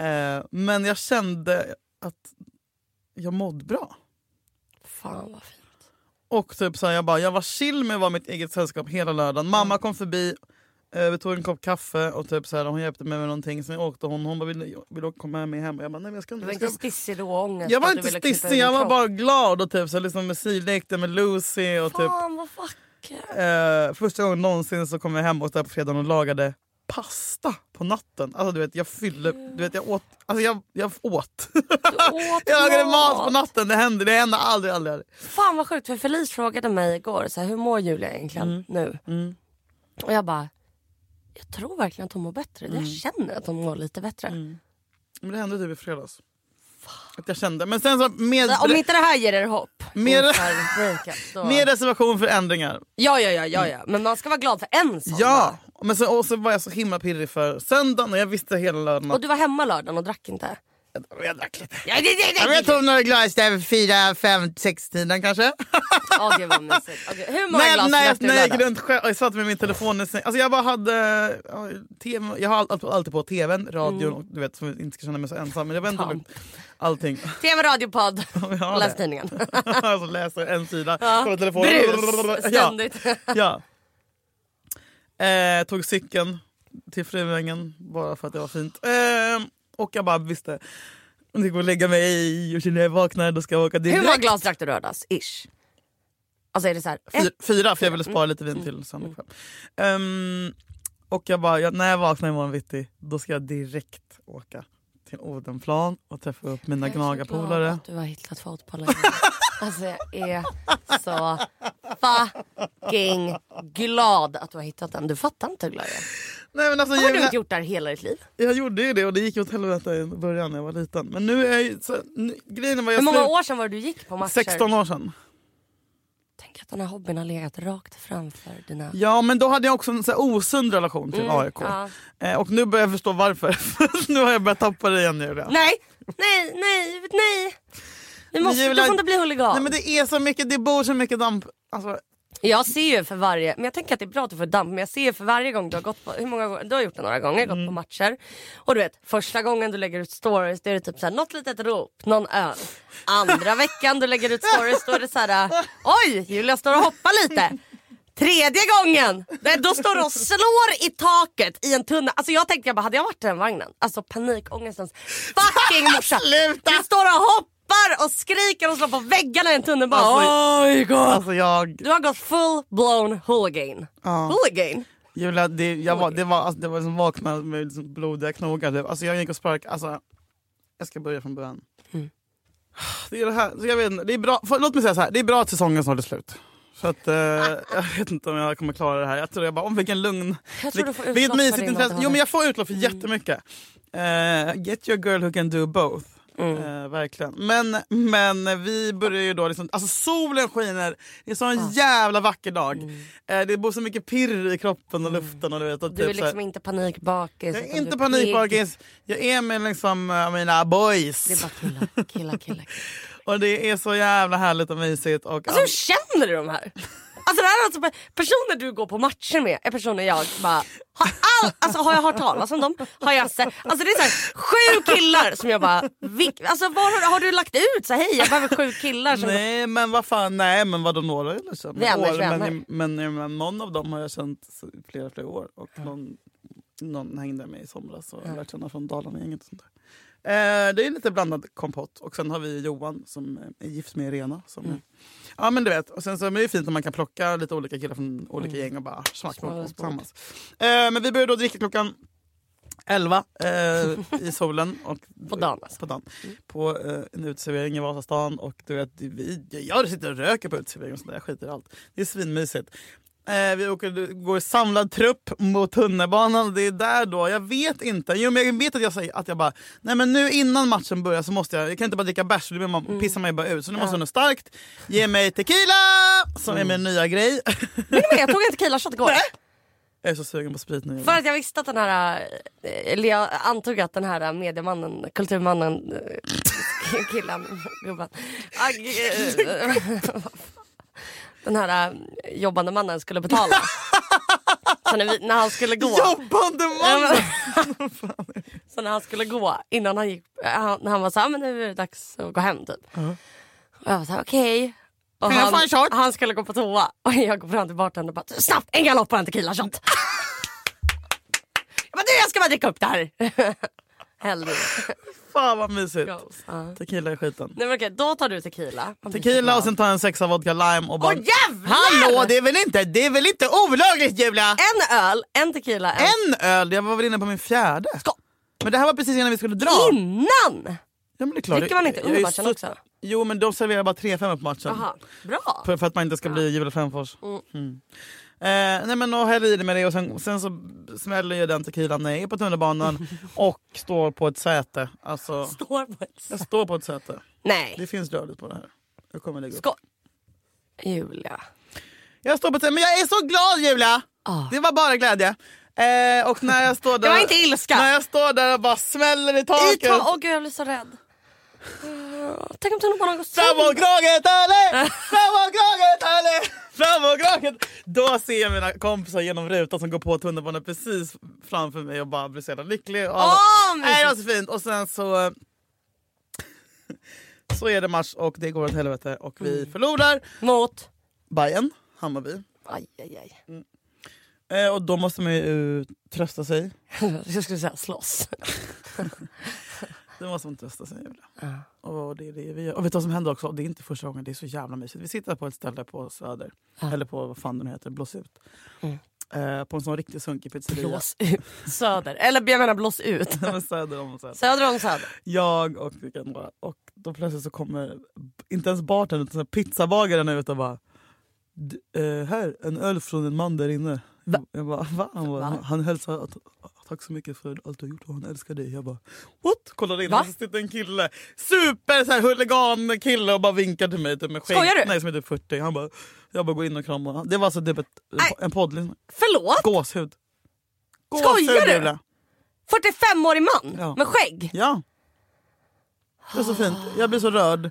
[SPEAKER 2] Eh, men jag kände att jag mådde bra.
[SPEAKER 1] Fan vad fint.
[SPEAKER 2] Och typ så här, jag, bara, jag var chill med att vara mitt eget sällskap hela lördagen. Mamma kom förbi, eh, vi tog en kopp kaffe och typ så här, hon hjälpte mig med någonting. Sen åkte hon, hon bara vill, vill du komma med mig hem? Och jag bara nej men jag ska
[SPEAKER 1] Du
[SPEAKER 2] inte.
[SPEAKER 1] var
[SPEAKER 2] Jag, ska...
[SPEAKER 1] inte stissig då och ångest?
[SPEAKER 2] jag var
[SPEAKER 1] att du
[SPEAKER 2] inte
[SPEAKER 1] ville klippa ur
[SPEAKER 2] stissig,
[SPEAKER 1] din
[SPEAKER 2] jag var
[SPEAKER 1] kropp?
[SPEAKER 2] bara glad och typ så här, liksom musik, lekte med Lucy och typ
[SPEAKER 1] Fan vad vackert.
[SPEAKER 2] eh, första gången någonsin så kom jag hem och där på fredagen och lagade pasta på natten. Alltså du vet jag fyllde, du vet jag åt, alltså jag, jag åt.
[SPEAKER 1] åt
[SPEAKER 2] jag lagade mat på natten, det hände, det hände aldrig, aldrig. aldrig.
[SPEAKER 1] Fan vad sjukt för Felice frågade mig igår så här, hur mår Julia egentligen nu? Och jag bara, jag tror verkligen att hon mår bättre. Jag känner att hon mår lite bättre.
[SPEAKER 2] Men det hände typ i fredags. Att jag kände. Men sen så med,
[SPEAKER 1] Om inte det här ger er hopp
[SPEAKER 2] Mer-
[SPEAKER 1] inför breakup, då...
[SPEAKER 2] med reservation för ändringar.
[SPEAKER 1] Ja, ja, ja, ja, ja. Men man ska vara glad för en sån
[SPEAKER 2] Ja! Men sen, och så var jag så himla pirrig för söndagen och jag visste hela lördagen
[SPEAKER 1] dag. Och du var hemma lördagen och drack inte?
[SPEAKER 2] att jag drack lite.
[SPEAKER 1] Ja, det, det,
[SPEAKER 2] Ja, men Jag tog några glas där vid fyra, fem, sex tiden kanske.
[SPEAKER 1] Åh gud vad mysigt. Okay. Hur många
[SPEAKER 2] Nej,
[SPEAKER 1] glas
[SPEAKER 2] nej,
[SPEAKER 1] drack du
[SPEAKER 2] nej, jag gick
[SPEAKER 1] lördagen?
[SPEAKER 2] runt själv och jag satt med min telefon. i säng. Alltså jag bara hade... ja, TV, jag har alltid, alltid på tvn, radion
[SPEAKER 1] Mm.
[SPEAKER 2] och du vet så jag inte ska känna mig så ensam. Men jag var ändå
[SPEAKER 1] Tant.
[SPEAKER 2] lugnt. Allting.
[SPEAKER 1] Tv, radio, podd
[SPEAKER 2] Jag har
[SPEAKER 1] och läs
[SPEAKER 2] det.
[SPEAKER 1] tidningen.
[SPEAKER 2] alltså läser en sida, kollar telefonen.
[SPEAKER 1] Brus
[SPEAKER 2] Ja.
[SPEAKER 1] ständigt.
[SPEAKER 2] Ja. Eh, tog cykeln till Fruängen bara för att det var fint. Eh, och jag bara visste, om det går att lägga mig i och sen när jag vaknar då ska jag åka
[SPEAKER 1] Hur många
[SPEAKER 2] direkt.
[SPEAKER 1] glas drack du lördags? Ish. Alltså är det så här,
[SPEAKER 2] Fyra,
[SPEAKER 1] ett,
[SPEAKER 2] fyra för jag
[SPEAKER 1] Mm.
[SPEAKER 2] ville spara lite vin till söndag kväll. Ehm, och jag bara, jag, när jag vaknar imorgon bitti då ska jag direkt åka till Odenplan och träffa upp mina
[SPEAKER 1] Jag är så glad
[SPEAKER 2] gnagarpolare.
[SPEAKER 1] att Du har hittat fotbollen. alltså jag är så fucking glad att du har hittat den. Du fattar inte hur glad jag är.
[SPEAKER 2] Nej, men alltså,
[SPEAKER 1] Vad har
[SPEAKER 2] Julia-
[SPEAKER 1] du inte gjort där hela ditt liv?
[SPEAKER 2] Jag gjorde ju det och det gick åt helvete i början när jag var liten. Men nu är jag ju... Så, nu, grejen var jag
[SPEAKER 1] Hur många
[SPEAKER 2] slut-
[SPEAKER 1] år sedan var det du gick på matcher?
[SPEAKER 2] 16 år sedan.
[SPEAKER 1] Tänk att den här hobbyn har legat rakt framför dina...
[SPEAKER 2] Ja men då hade jag också en så här osund relation till AIK.
[SPEAKER 1] Mm, ja.
[SPEAKER 2] Eh, och nu börjar jag förstå varför. nu har jag börjat tappa det igen Julia.
[SPEAKER 1] Nej, nej, nej, nej! Du, måste,
[SPEAKER 2] Julia-
[SPEAKER 1] du får inte bli huligan.
[SPEAKER 2] Nej men det är så mycket, det bor så mycket damp. Alltså,
[SPEAKER 1] Jag ser ju för varje, men jag tänker att det är bra att du får damp, men jag ser ju för varje gång du har gått på, hur många gånger, du har gjort det några gånger, gått på matcher. Och du vet, första gången du lägger ut stories det är det typ såhär, något litet rop, någon öl. Andra veckan du lägger ut stories då är det såhär, oj Julia står och hoppar lite. Tredje gången, nej, då står du och slår i taket i en tunna. Alltså jag tänkte jag bara, hade jag varit i den vagnen? Alltså panikångestens fucking morsa.
[SPEAKER 2] Sluta!
[SPEAKER 1] Du står och hoppar och skriker och slår på väggarna i en tunnelbana.
[SPEAKER 2] alltså, alltså jag...
[SPEAKER 1] Du har gått full blown hooligan. Hooligan?
[SPEAKER 2] Julia, det, jag var, det var, alltså, det var liksom vakna med liksom blodiga knogar. Typ. Alltså, jag gick och sparkade. Alltså, jag ska börja från början.
[SPEAKER 1] Mm.
[SPEAKER 2] Det är det här. Så jag vet, inte, det är bra, för, låt mig säga så här. Det är bra att säsongen snart är slut. Så att, eh, jag vet inte om jag kommer klara det här. Jag tror jag bara, om vilken lugn...
[SPEAKER 1] Jag tror du får utlopp
[SPEAKER 2] vilket
[SPEAKER 1] för
[SPEAKER 2] mysigt
[SPEAKER 1] din
[SPEAKER 2] intresse. Jo
[SPEAKER 1] ADHD.
[SPEAKER 2] men jag får utlopp för jättemycket. Eh, get your girl who can do both.
[SPEAKER 1] Mm.
[SPEAKER 2] Eh, verkligen. Men, men vi börjar ju då... Liksom, alltså solen skiner. Det är så en jävla vacker dag.
[SPEAKER 1] Mm.
[SPEAKER 2] Eh, det bor så mycket pirr i kroppen och luften. Och du vet, och
[SPEAKER 1] Du Mm. är
[SPEAKER 2] typ så här-
[SPEAKER 1] liksom inte panikbakis.
[SPEAKER 2] jag är
[SPEAKER 1] utan du
[SPEAKER 2] inte
[SPEAKER 1] är pigg.
[SPEAKER 2] panikbakis. Jag är med liksom, eh, mina boys.
[SPEAKER 1] Det är bara killar, killar, killar. killar.
[SPEAKER 2] Och det är så jävla härligt och mysigt. Och,
[SPEAKER 1] Alltså hur känner du de här? Alltså det här är alltså pe- personer du går på matcher med är personer jag bara har, all, alltså, har jag hört talas om dem? Har jag sett? Alltså det är så här, sju killar som jag bara, vil, alltså var har, har du lagt ut så här, hej jag behöver sju killar som
[SPEAKER 2] Nej men vad fan, nej men vadå några har jag lärt känna
[SPEAKER 1] Vänners
[SPEAKER 2] år,
[SPEAKER 1] vänner.
[SPEAKER 2] men, men, men någon av dem har jag känt i flera flera år och någon, någon hängde med i somras och jag har lärt känna från Dalarna-gänget och sånt där. Eh, det är lite blandad kompott och sen har vi Johan som eh, är gift med Irena. Som
[SPEAKER 1] Mm.
[SPEAKER 2] är, ja men du vet, och sen så men det är det fint om man kan plocka lite olika killar från olika
[SPEAKER 1] Mm.
[SPEAKER 2] gäng och bara smack på
[SPEAKER 1] Små
[SPEAKER 2] dem
[SPEAKER 1] sport.
[SPEAKER 2] tillsammans. Eh, men vi började då dricka klockan 11 eh, i solen. Och,
[SPEAKER 1] På dagen, alltså.
[SPEAKER 2] På, dagen. på eh, en uteservering i Vasastan. Och du vet, vi, jag sitter och röker på uteservering och sånt där. Jag skiter i allt. Det är svinmysigt. Eh, vi åker, går i samlad trupp mot tunnelbanan. och Det är där då. Jag vet inte. Jo, men jag vet att jag säger att jag bara... Nej, men nu innan matchen börjar så måste jag... Jag kan inte bara dricka bärs, för då blir man-
[SPEAKER 1] Mm.
[SPEAKER 2] pissar man ju bara ut. Så nu måste jag något starkt. Ge mig tequila! Som är
[SPEAKER 1] Mm.
[SPEAKER 2] min nya grej.
[SPEAKER 1] Men jag tog en tequila-shot igår.
[SPEAKER 2] jag är så sugen på sprit nu.
[SPEAKER 1] För att jag visste att den här, eh, eller jag antog att den här mediemannen, kulturmannen, eh, killen, gubben. ah, g- eh, Den här eh, jobbande mannen skulle betala. Så när, vi, när han skulle gå.
[SPEAKER 2] Jobbande
[SPEAKER 1] Ja,
[SPEAKER 2] man!
[SPEAKER 1] men-
[SPEAKER 2] Alltså.
[SPEAKER 1] så när han skulle gå, innan han gick, eh, han, när han var såhär, men nu är det dags att gå hem typ. Och jag var såhär, okej. Och
[SPEAKER 2] Kan jag få en shot?
[SPEAKER 1] han skulle gå på toa och jag går fram till bartendern och bara, snabbt en galopp och en tequila-shot. jag bara, du jag ska bara dricka upp det här. Hellre.
[SPEAKER 2] Fan vad mysigt.
[SPEAKER 1] Goals. Ja.
[SPEAKER 2] Tequila i skiten.
[SPEAKER 1] Nej men okej, då tar du tequila. Man blir så
[SPEAKER 2] Tequila
[SPEAKER 1] glad.
[SPEAKER 2] och sen tar jag en sexa vodka lime och bara...
[SPEAKER 1] Åh jävlar!
[SPEAKER 2] Hallå det är väl inte, det är väl inte olagligt Julia?
[SPEAKER 1] En öl, en tequila, en...
[SPEAKER 2] En öl, jag var väl inne på min fjärde. Men det här var precis innan vi skulle dra.
[SPEAKER 1] Innan!
[SPEAKER 2] Ja, men det är klart.
[SPEAKER 1] Dricker man inte
[SPEAKER 2] Jag-
[SPEAKER 1] under
[SPEAKER 2] jag är
[SPEAKER 1] matchen
[SPEAKER 2] så-
[SPEAKER 1] också?
[SPEAKER 2] Jo men de serverar bara tre femmor på matchen.
[SPEAKER 1] Jaha, bra.
[SPEAKER 2] För, för att man inte ska bli Julia Frändfors. Mm. Eh, nej men och häller i det med det och sen, sen så smäller ju den tequilan ner på tunnelbanan och står på ett säte. Alltså,
[SPEAKER 1] Står på ett...
[SPEAKER 2] jag står på ett säte.
[SPEAKER 1] Nej,
[SPEAKER 2] Det finns rörligt på det här. Jag kommer lägga upp.
[SPEAKER 1] skoj. Julia.
[SPEAKER 2] Jag står på scen, men jag är så glad Julia! Det var bara glädje. Eh, och när jag står där...
[SPEAKER 1] Det var Ah. inte ilska.
[SPEAKER 2] När jag står där och bara smäller i
[SPEAKER 1] I
[SPEAKER 2] taket.
[SPEAKER 1] ta- Åh gud jag blir så rädd. Åh, Tänk om tunnelbanan går
[SPEAKER 2] Framåt
[SPEAKER 1] sönder.
[SPEAKER 2] kraget alle! Framåt kraget alle! Framåt kraget! Då ser jag mina kompisar genom rutan som går på tunnelbanan precis framför mig och bara blir så jävla lycklig. Och alla-
[SPEAKER 1] Åh, mysigt.
[SPEAKER 2] Nej, det var så fint. Och sen så... Så är det match och det går åt helvete och vi
[SPEAKER 1] Mm.
[SPEAKER 2] förlorar.
[SPEAKER 1] Mot.
[SPEAKER 2] Bayern, Hammarby.
[SPEAKER 1] Aj, aj, aj.
[SPEAKER 2] Eh, och då måste man ju eh, trösta sig.
[SPEAKER 1] Jag skulle säga slåss.
[SPEAKER 2] Det måste man trösta sig Julia. Och det är det vi gör. Och vet du vad som händer också? Det är inte första gången, det är så jävla mysigt. Vi sitter på ett ställe på Söder, eller på vad fan det nu heter, Blås ut. Eh, på en sån riktigt sunkig pizzeria.
[SPEAKER 1] Mm. Blås ut. Söder. Eller jag menar blås ut.
[SPEAKER 2] Söder om Söder.
[SPEAKER 1] Söder om Söder.
[SPEAKER 2] Jag och vilka andra. Och då plötsligt så kommer, inte ens bartendern utan så här pizzabagaren ut och bara "D- eh, här, en öl från en man där inne. Jag, jag bara, Va? Han, bara,
[SPEAKER 1] Va?
[SPEAKER 2] han hälsar att, tack så mycket för allt du har gjort och han älskar dig. Jag bara what? Kollar in
[SPEAKER 1] Va?
[SPEAKER 2] och så sitter en kille, super så här, huligan kille och bara vinkar till mig. Typ, med skägg.
[SPEAKER 1] Skojar du?
[SPEAKER 2] Nej som är typ 40. Han bara, jag bara går in och kramar honom. Det var alltså typ ett,
[SPEAKER 1] Nej.
[SPEAKER 2] en poddlyssnare.
[SPEAKER 1] Förlåt?
[SPEAKER 2] Gåshud.
[SPEAKER 1] Skojar du?
[SPEAKER 2] Julia.
[SPEAKER 1] 45-årig man
[SPEAKER 2] Ja.
[SPEAKER 1] med skägg.
[SPEAKER 2] Ja. Det är så fint. Jag blir så rörd.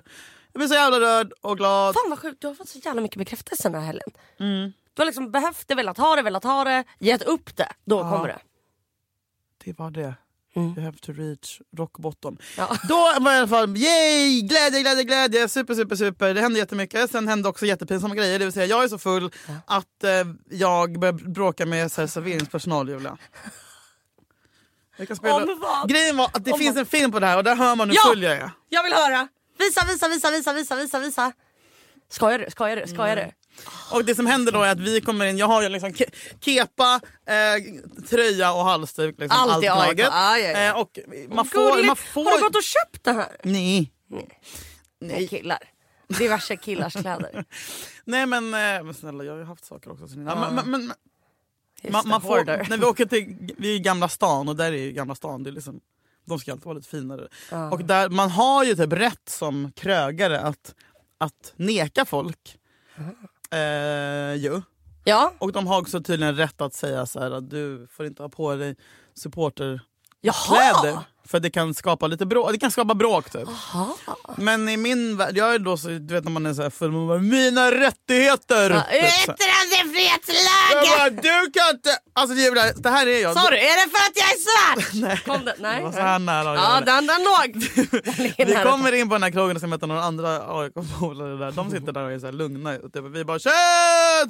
[SPEAKER 2] Jag blir så jävla rörd och glad.
[SPEAKER 1] Fan vad sjukt, du har fått så jävla mycket bekräftelse den här helgen. Du har liksom behövt det, velat ha det, velat ha det, gett upp det. Då kommer det.
[SPEAKER 2] Det var det. You have to reach rock bottom.
[SPEAKER 1] Mm. Ja.
[SPEAKER 2] Då var jag i alla fall, yay! Glädje, glädje, glädje! Super, super, super. Det hände jättemycket. Sen hände också jättepinsamma grejer. Det vill säga, jag är så full att eh, jag börjar bråka med så här, serveringspersonal, Julia. Jag kan spela.
[SPEAKER 1] Om vad?
[SPEAKER 2] Grejen var att det
[SPEAKER 1] Om
[SPEAKER 2] finns en film på det här och där hör man hur
[SPEAKER 1] Ja!
[SPEAKER 2] full jag är.
[SPEAKER 1] Jag vill höra. Visa, visa, visa, visa, visa, visa, visa. Skojar du? Skojar du? Skojar du?
[SPEAKER 2] Och det som händer då är att vi kommer in, jag har ju liksom ke- kepa, eh, tröja och halsduk. Liksom,
[SPEAKER 1] Allt i AIK.
[SPEAKER 2] laget.
[SPEAKER 1] Ja, ja, ja.
[SPEAKER 2] Eh, och man får,
[SPEAKER 1] Gulligt.
[SPEAKER 2] man får...
[SPEAKER 1] Har du gått och köpt det här?
[SPEAKER 2] Nej.
[SPEAKER 1] Nej. Killar. Diverse killars kläder.
[SPEAKER 2] Nej men, eh, men snälla jag har ju haft saker också. sen innan. Men, men, men,
[SPEAKER 1] Just
[SPEAKER 2] man,
[SPEAKER 1] det,
[SPEAKER 2] man får,
[SPEAKER 1] hoarder.
[SPEAKER 2] när vi åker till vi är i Gamla stan och där är ju Gamla stan, det är liksom De ska alltid vara lite finare. Och där, man har ju typ rätt som krögare att, att neka folk. Eh, ju.
[SPEAKER 1] Ja,
[SPEAKER 2] Och de har också tydligen rätt att säga så här, att du får inte ha på dig supporterkläder.
[SPEAKER 1] jaha!
[SPEAKER 2] För det kan skapa lite bråk. Det kan skapa bråk typ. Men i min värld, jag är då så, du vet när man är så här full, man bara, mina rättigheter!
[SPEAKER 1] Ja, äh,
[SPEAKER 2] Typ så här.
[SPEAKER 1] Yttrandefrihetslagen!
[SPEAKER 2] Jag bara, du kan inte! Alltså jävlar, det här är jag.
[SPEAKER 1] Sa du, är det för att jag är svart? Nej. Kom det? Nej.
[SPEAKER 2] Det var så här nära.
[SPEAKER 1] Ja, den den låg.
[SPEAKER 2] Vi kommer in på den här krogen och ska möta några andra AIK-polare där. De sitter där och är så här lugna. Och typ, vi bara tja!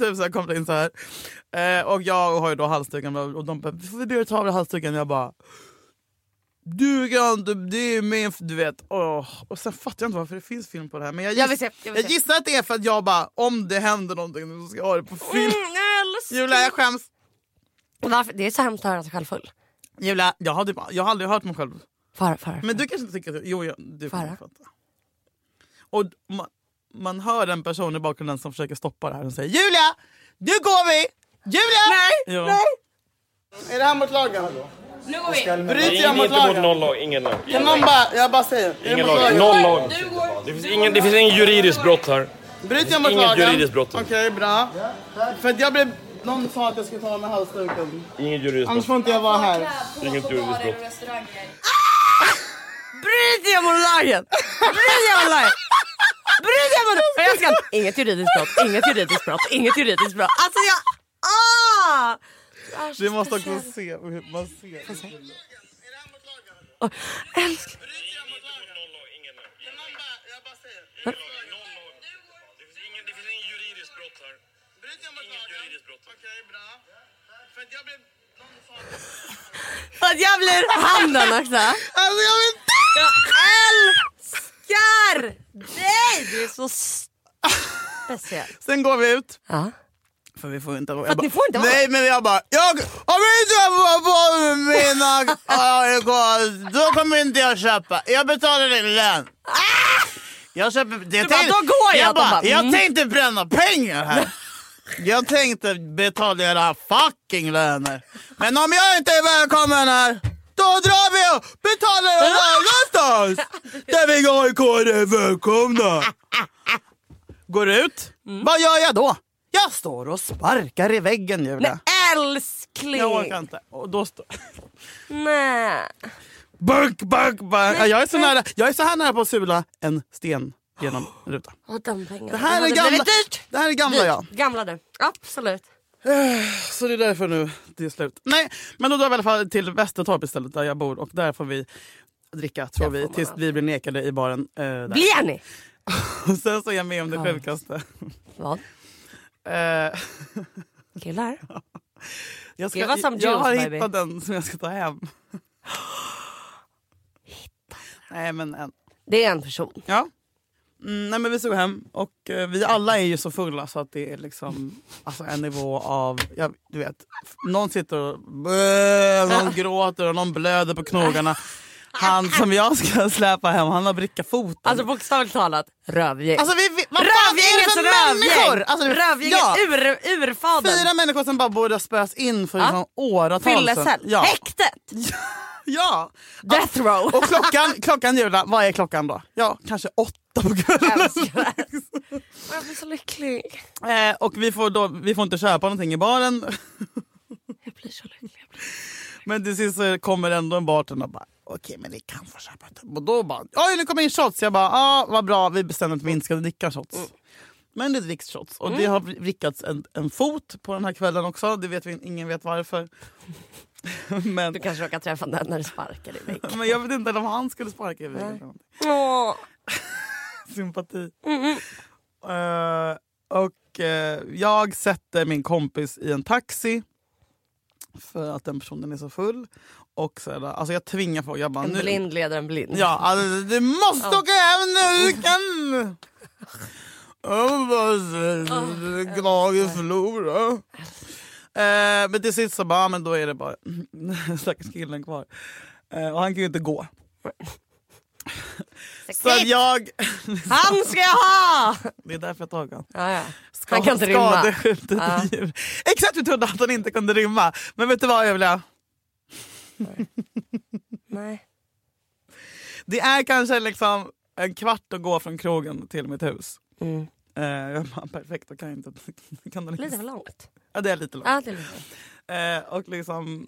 [SPEAKER 2] Typ så här, kommer in så här. Eh, och jag har ju då halsduken och de bara, får vi be dig ta av dig halsduken? Jag bara, du kan inte, det är min, f- du vet. Åh. Och sen fattar jag inte varför det finns film på det här. Men jag, giss,
[SPEAKER 1] Jag vill se, jag vill se.
[SPEAKER 2] gissar att det är för att jag bara, om det händer någonting nu så ska jag ha det på film.
[SPEAKER 1] Mm, jag älskar-
[SPEAKER 2] Julia jag skäms.
[SPEAKER 1] Varför? Det är så hemskt att höra sig själv full.
[SPEAKER 2] Julia, jag har, typ, jag har aldrig hört mig själv
[SPEAKER 1] Far, far.
[SPEAKER 2] Men du kanske inte tycker att... Jo, jag, du får
[SPEAKER 1] Farah.
[SPEAKER 2] nog fatta. Och man, man hör en person i bakgrunden som försöker stoppa det här och säger Julia! Nu går vi! Julia! Nej! Nej! Är det här mot lagen?
[SPEAKER 1] Nu går vi.
[SPEAKER 2] Bryter jag
[SPEAKER 3] Ingen,
[SPEAKER 2] mot
[SPEAKER 3] inte mot
[SPEAKER 2] lagen?
[SPEAKER 3] någon lag, ingen lag.
[SPEAKER 2] Kan någon bara... Jag bara säger. Är det
[SPEAKER 3] Ingen
[SPEAKER 2] mot
[SPEAKER 3] lag,
[SPEAKER 2] lagen?
[SPEAKER 3] noll lag. Det finns ingen, det finns ingen juridiskt brott här.
[SPEAKER 2] Bryter jag mot
[SPEAKER 3] Inget
[SPEAKER 2] lagen?
[SPEAKER 3] juridiskt brott.
[SPEAKER 2] Okej, bra. För att jag blev... Någon sa att jag skulle ta av mig halsduken.
[SPEAKER 3] Inget juridiskt
[SPEAKER 2] Annars
[SPEAKER 3] brott.
[SPEAKER 2] får inte jag vara här.
[SPEAKER 3] Inget juridiskt brott.
[SPEAKER 1] Bryt er mot lagen! Bryt er mot lagen! Bryt er mot... Jag älskar den. Inget juridiskt brott, inget juridiskt brott, inget juridiskt brott. Alltså jag... Ah!
[SPEAKER 2] Vi måste också se hur man ser.
[SPEAKER 1] Älskling. Att jag blir handen också.
[SPEAKER 2] Alltså jag vill inte!
[SPEAKER 1] Jag älskar dig! Du är så s- speciell.
[SPEAKER 2] Sen går vi ut.
[SPEAKER 1] Ja.
[SPEAKER 2] För vi får inte vara...
[SPEAKER 1] att ni får inte vara-
[SPEAKER 2] Nej men jag bara, jag, om inte jag får på mig mina AIK då kommer inte jag köpa. Jag betalar din lön. Jag köper... Det
[SPEAKER 1] Ah! bara, "Då går jag." De
[SPEAKER 2] Jag, bara,
[SPEAKER 1] bara,
[SPEAKER 2] jag
[SPEAKER 1] "Mm."
[SPEAKER 2] tänkte bränna pengar här. Jag tänkte betala era fucking löner. Men om jag inte är välkommen här, då drar vi och betalar någon annanstans. Där vi AIK är välkomna. Går ut.
[SPEAKER 1] Mm.
[SPEAKER 2] Vad gör jag då? Jag står och sparkar i väggen Julia.
[SPEAKER 1] Älskling!
[SPEAKER 2] Jag orkar inte. Och då står...
[SPEAKER 1] Nej.
[SPEAKER 2] Bank, bank, bank. Ja, Jag är, så nära, jag är så här nära på att sula en sten genom en ruta.
[SPEAKER 1] Och de pengarna.
[SPEAKER 2] Det här är
[SPEAKER 1] hade
[SPEAKER 2] gamla,
[SPEAKER 1] blivit dyrt.
[SPEAKER 2] det här är gamla jag.
[SPEAKER 1] Dyrt. Gamla du. Absolut.
[SPEAKER 2] Så det är därför nu det är slut. Nej, men då drar vi i alla fall till Västertorp istället där jag bor och där får vi dricka tror vi tills vi blir nekade i baren. Eh, där.
[SPEAKER 1] Blir ni?
[SPEAKER 2] Och sen så är jag med om det sjukaste.
[SPEAKER 1] Vad?
[SPEAKER 2] Eh,
[SPEAKER 1] Killar?
[SPEAKER 2] jag, ska,
[SPEAKER 1] Det var som
[SPEAKER 2] jag
[SPEAKER 1] juice,
[SPEAKER 2] har
[SPEAKER 1] baby.
[SPEAKER 2] hittat den som jag ska ta hem. Nej men en.
[SPEAKER 1] Det är en person.
[SPEAKER 2] Ja. Mm, nej men vi såg hem och eh, vi alla är ju så fulla så att det är liksom alltså en nivå av, ja, du vet, någon sitter och bö, någon gråter och någon blöder på knogarna. Han som jag ska släpa hem, han har bricka foten.
[SPEAKER 1] Alltså bokstavligt talat rövgäng.
[SPEAKER 2] Alltså, vi, vi, vad fan är
[SPEAKER 1] Rövgängets
[SPEAKER 2] det för
[SPEAKER 1] rövgäng!
[SPEAKER 2] människor? Alltså,
[SPEAKER 1] Rövgänget
[SPEAKER 2] ja,
[SPEAKER 1] ur, urfadern.
[SPEAKER 2] fyra människor som bara borde ha spöats in för liksom, åratal sedan.
[SPEAKER 1] Fyllecell.
[SPEAKER 2] alltså. Ja.
[SPEAKER 1] Häktet.
[SPEAKER 2] ja.
[SPEAKER 1] Death row.
[SPEAKER 2] Och klockan, klockan Julia, vad är klockan då? Ja, kanske åtta på
[SPEAKER 1] Jag
[SPEAKER 2] kvällen.
[SPEAKER 1] älskar det. Jag blir så lycklig.
[SPEAKER 2] Eh, och vi får, då, vi får inte köpa någonting i baren.
[SPEAKER 1] Jag blir så lycklig. Jag blir...
[SPEAKER 2] Men till sist så kommer ändå en bartender och bara okej men ni kan få köpa ett. Och då bara oj nu kommer in shots. Jag bara ja vad bra vi bestämde att vi inte ska dricka shots.
[SPEAKER 1] Mm.
[SPEAKER 2] Men det dricks shots och det har vrickats en, en fot på den här kvällen också. Det vet vi, ingen vet varför. men,
[SPEAKER 1] Du kanske råkar träffa den när du sparkar i väggen.
[SPEAKER 2] men jag vet inte om han skulle sparka i väggen. eller någonting.
[SPEAKER 1] Åh.
[SPEAKER 2] Sympati. Eh, och eh, jag sätter min kompis i en taxi. För att den personen är så full. Och så är det, alltså jag tvingar folk. Jag bara,
[SPEAKER 1] En
[SPEAKER 2] nu,
[SPEAKER 1] blind leder en blind.
[SPEAKER 2] Ja, alltså, du måste åka hem nu, du kan... Jag bara, Gnag förlora. Eh, men till sist så bara, men då är det bara stackars killen kvar. Eh, och han kan ju inte gå. Så att jag...
[SPEAKER 1] Han ska jag ha!
[SPEAKER 2] Det är därför jag tog honom.
[SPEAKER 1] Ja, ja. Han kan inte rymma.
[SPEAKER 2] Skadeskjutet
[SPEAKER 1] Ja.
[SPEAKER 2] djur. Exakt, vi trodde att han inte kunde rymma. Men vet du vad Julia?
[SPEAKER 1] Nej.
[SPEAKER 2] Det är kanske liksom en kvart att gå från krogen till mitt hus. Eh, jag bara, perfekt, då kan jag inte... Kan det
[SPEAKER 1] Mm. Lite för långt.
[SPEAKER 2] Ja, det är lite långt.
[SPEAKER 1] Ja, det är lite.
[SPEAKER 2] Eh, och liksom,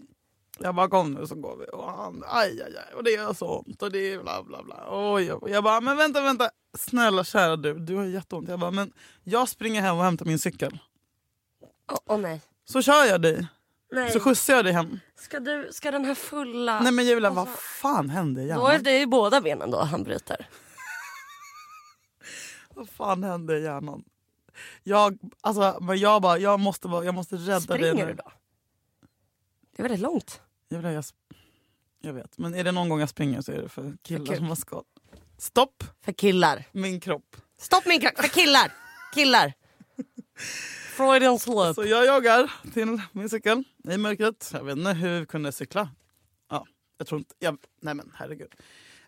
[SPEAKER 2] jag bara kom nu så går vi. Och han, aj aj aj, och det gör så ont och det är bla bla bla. Oj, oj. Jag bara, men vänta vänta, snälla kära du, du har jätteont. Jag bara, men jag springer hem och hämtar min cykel.
[SPEAKER 1] Åh åh, nej.
[SPEAKER 2] Så kör jag dig,
[SPEAKER 1] nej.
[SPEAKER 2] så skjutsar jag dig hem.
[SPEAKER 1] Ska, du, ska den här fulla...
[SPEAKER 2] Nej men Julia, vad
[SPEAKER 1] Alltså,
[SPEAKER 2] fan hände i
[SPEAKER 1] Då är
[SPEAKER 2] hjärnan?
[SPEAKER 1] det ju båda benen då han bryter.
[SPEAKER 2] Vad fan hände i hjärnan? Jag, alltså, men jag bara, jag måste, bara, jag måste rädda dig
[SPEAKER 1] Springer
[SPEAKER 2] nu.
[SPEAKER 1] du då? Det är väldigt långt.
[SPEAKER 2] Julia, jag, sp- jag vet, men är det någon gång jag springer så är det för killar
[SPEAKER 1] kul.
[SPEAKER 2] som har skott. Stopp
[SPEAKER 1] För killar.
[SPEAKER 2] min kropp.
[SPEAKER 1] Stopp min kropp. För killar. Killar. Freudian slip.
[SPEAKER 2] Så jag joggar till min cykel i mörkret. Jag vet inte hur vi kunde cykla. Ja, jag tror inte... Jag, nej men herregud.